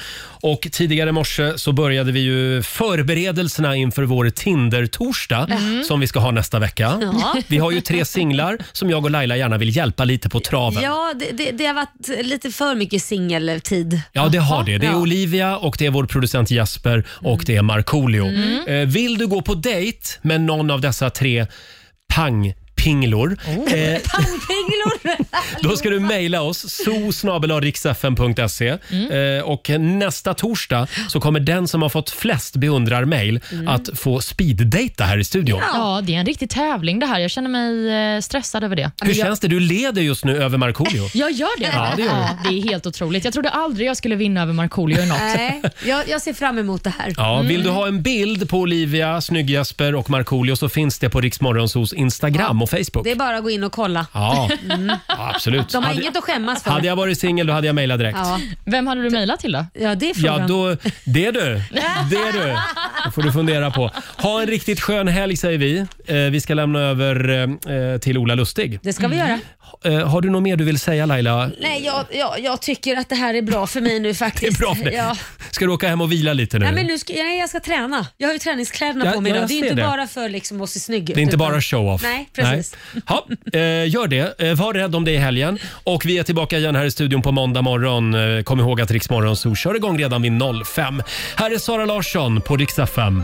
Och tidigare i morse så började vi ju förberedelserna inför vår Tinder-torsdag
Mm.
Mhm.
som vi ska ha nästa vecka.
Ja.
Vi har ju tre singlar som jag och Laila gärna vill hjälpa lite på traven.
Ja, det, det, det har varit lite för mycket singeltid.
Ja, det har det. Det är
Ja.
Olivia och det är vår producent Jasper och det är Markoolio.
Mm.
Eh, Vill du gå på dejt med någon av dessa tre pangpinglor? Eh,
Oh. Pangpinglor!
då ska du mejla oss, zoosnabelariksfn.se.
Mm.
Eh, och nästa torsdag så kommer den som har fått flest beundrar-mejl
Mm.
att få speeddejta här i studion.
Ja, det är en riktig tävling det här. Jag känner mig eh, stressad över det.
Hur känns det? Du leder just nu över Markoolio.
Jag gör det?
Ja, det gör du.
det är helt otroligt. Jag trodde aldrig jag skulle vinna över Markoolio i något.
Nej, jag, jag ser fram emot det här.
Ja, Vill du
Mm.
ha en bild på Olivia, Snygg-Jasper och Markoolio så finns det på Riksmorgonsos Instagram och Facebook.
Det är bara att gå in och kolla.
Ja.
Mm.
Ja, absolut.
De har
Hade-
inget att skämmas för.
Hade jag varit singel då hade jag mejlat direkt. Ja,
Ja.
Vem hade du mejlat till då?
Ja, det är frågan.
då, det är du. Det är du. Det får du fundera på. Ha en riktigt skön helg säger vi. Eh, vi ska lämna över eh, till Ola Lustig.
Det ska vi göra.
Eh, har du något mer du vill säga Laila?
Nej, jag, jag, jag tycker att det här är bra för mig nu faktiskt.
Det är bra för dig.
Ja.
Ska du åka hem och vila lite nu?
Nej, men nu ska, nej, jag ska träna. Jag har ju träningskläderna
Ja,
på mig
ja,
idag.
jag
Det är
ser
inte
det.
bara för liksom, att se snygg ut.
Det är inte
utan-
bara show-off.
Nej, precis.
Nej. Ha, eh, gör det. Eh, var rädd om dig i helgen. Och vi är tillbaka igen här i studion på måndag morgon. Eh, kom ihåg att Rix Morgon Zoo kör igång redan vid 05. Här är Sara Larsson på Rix FM.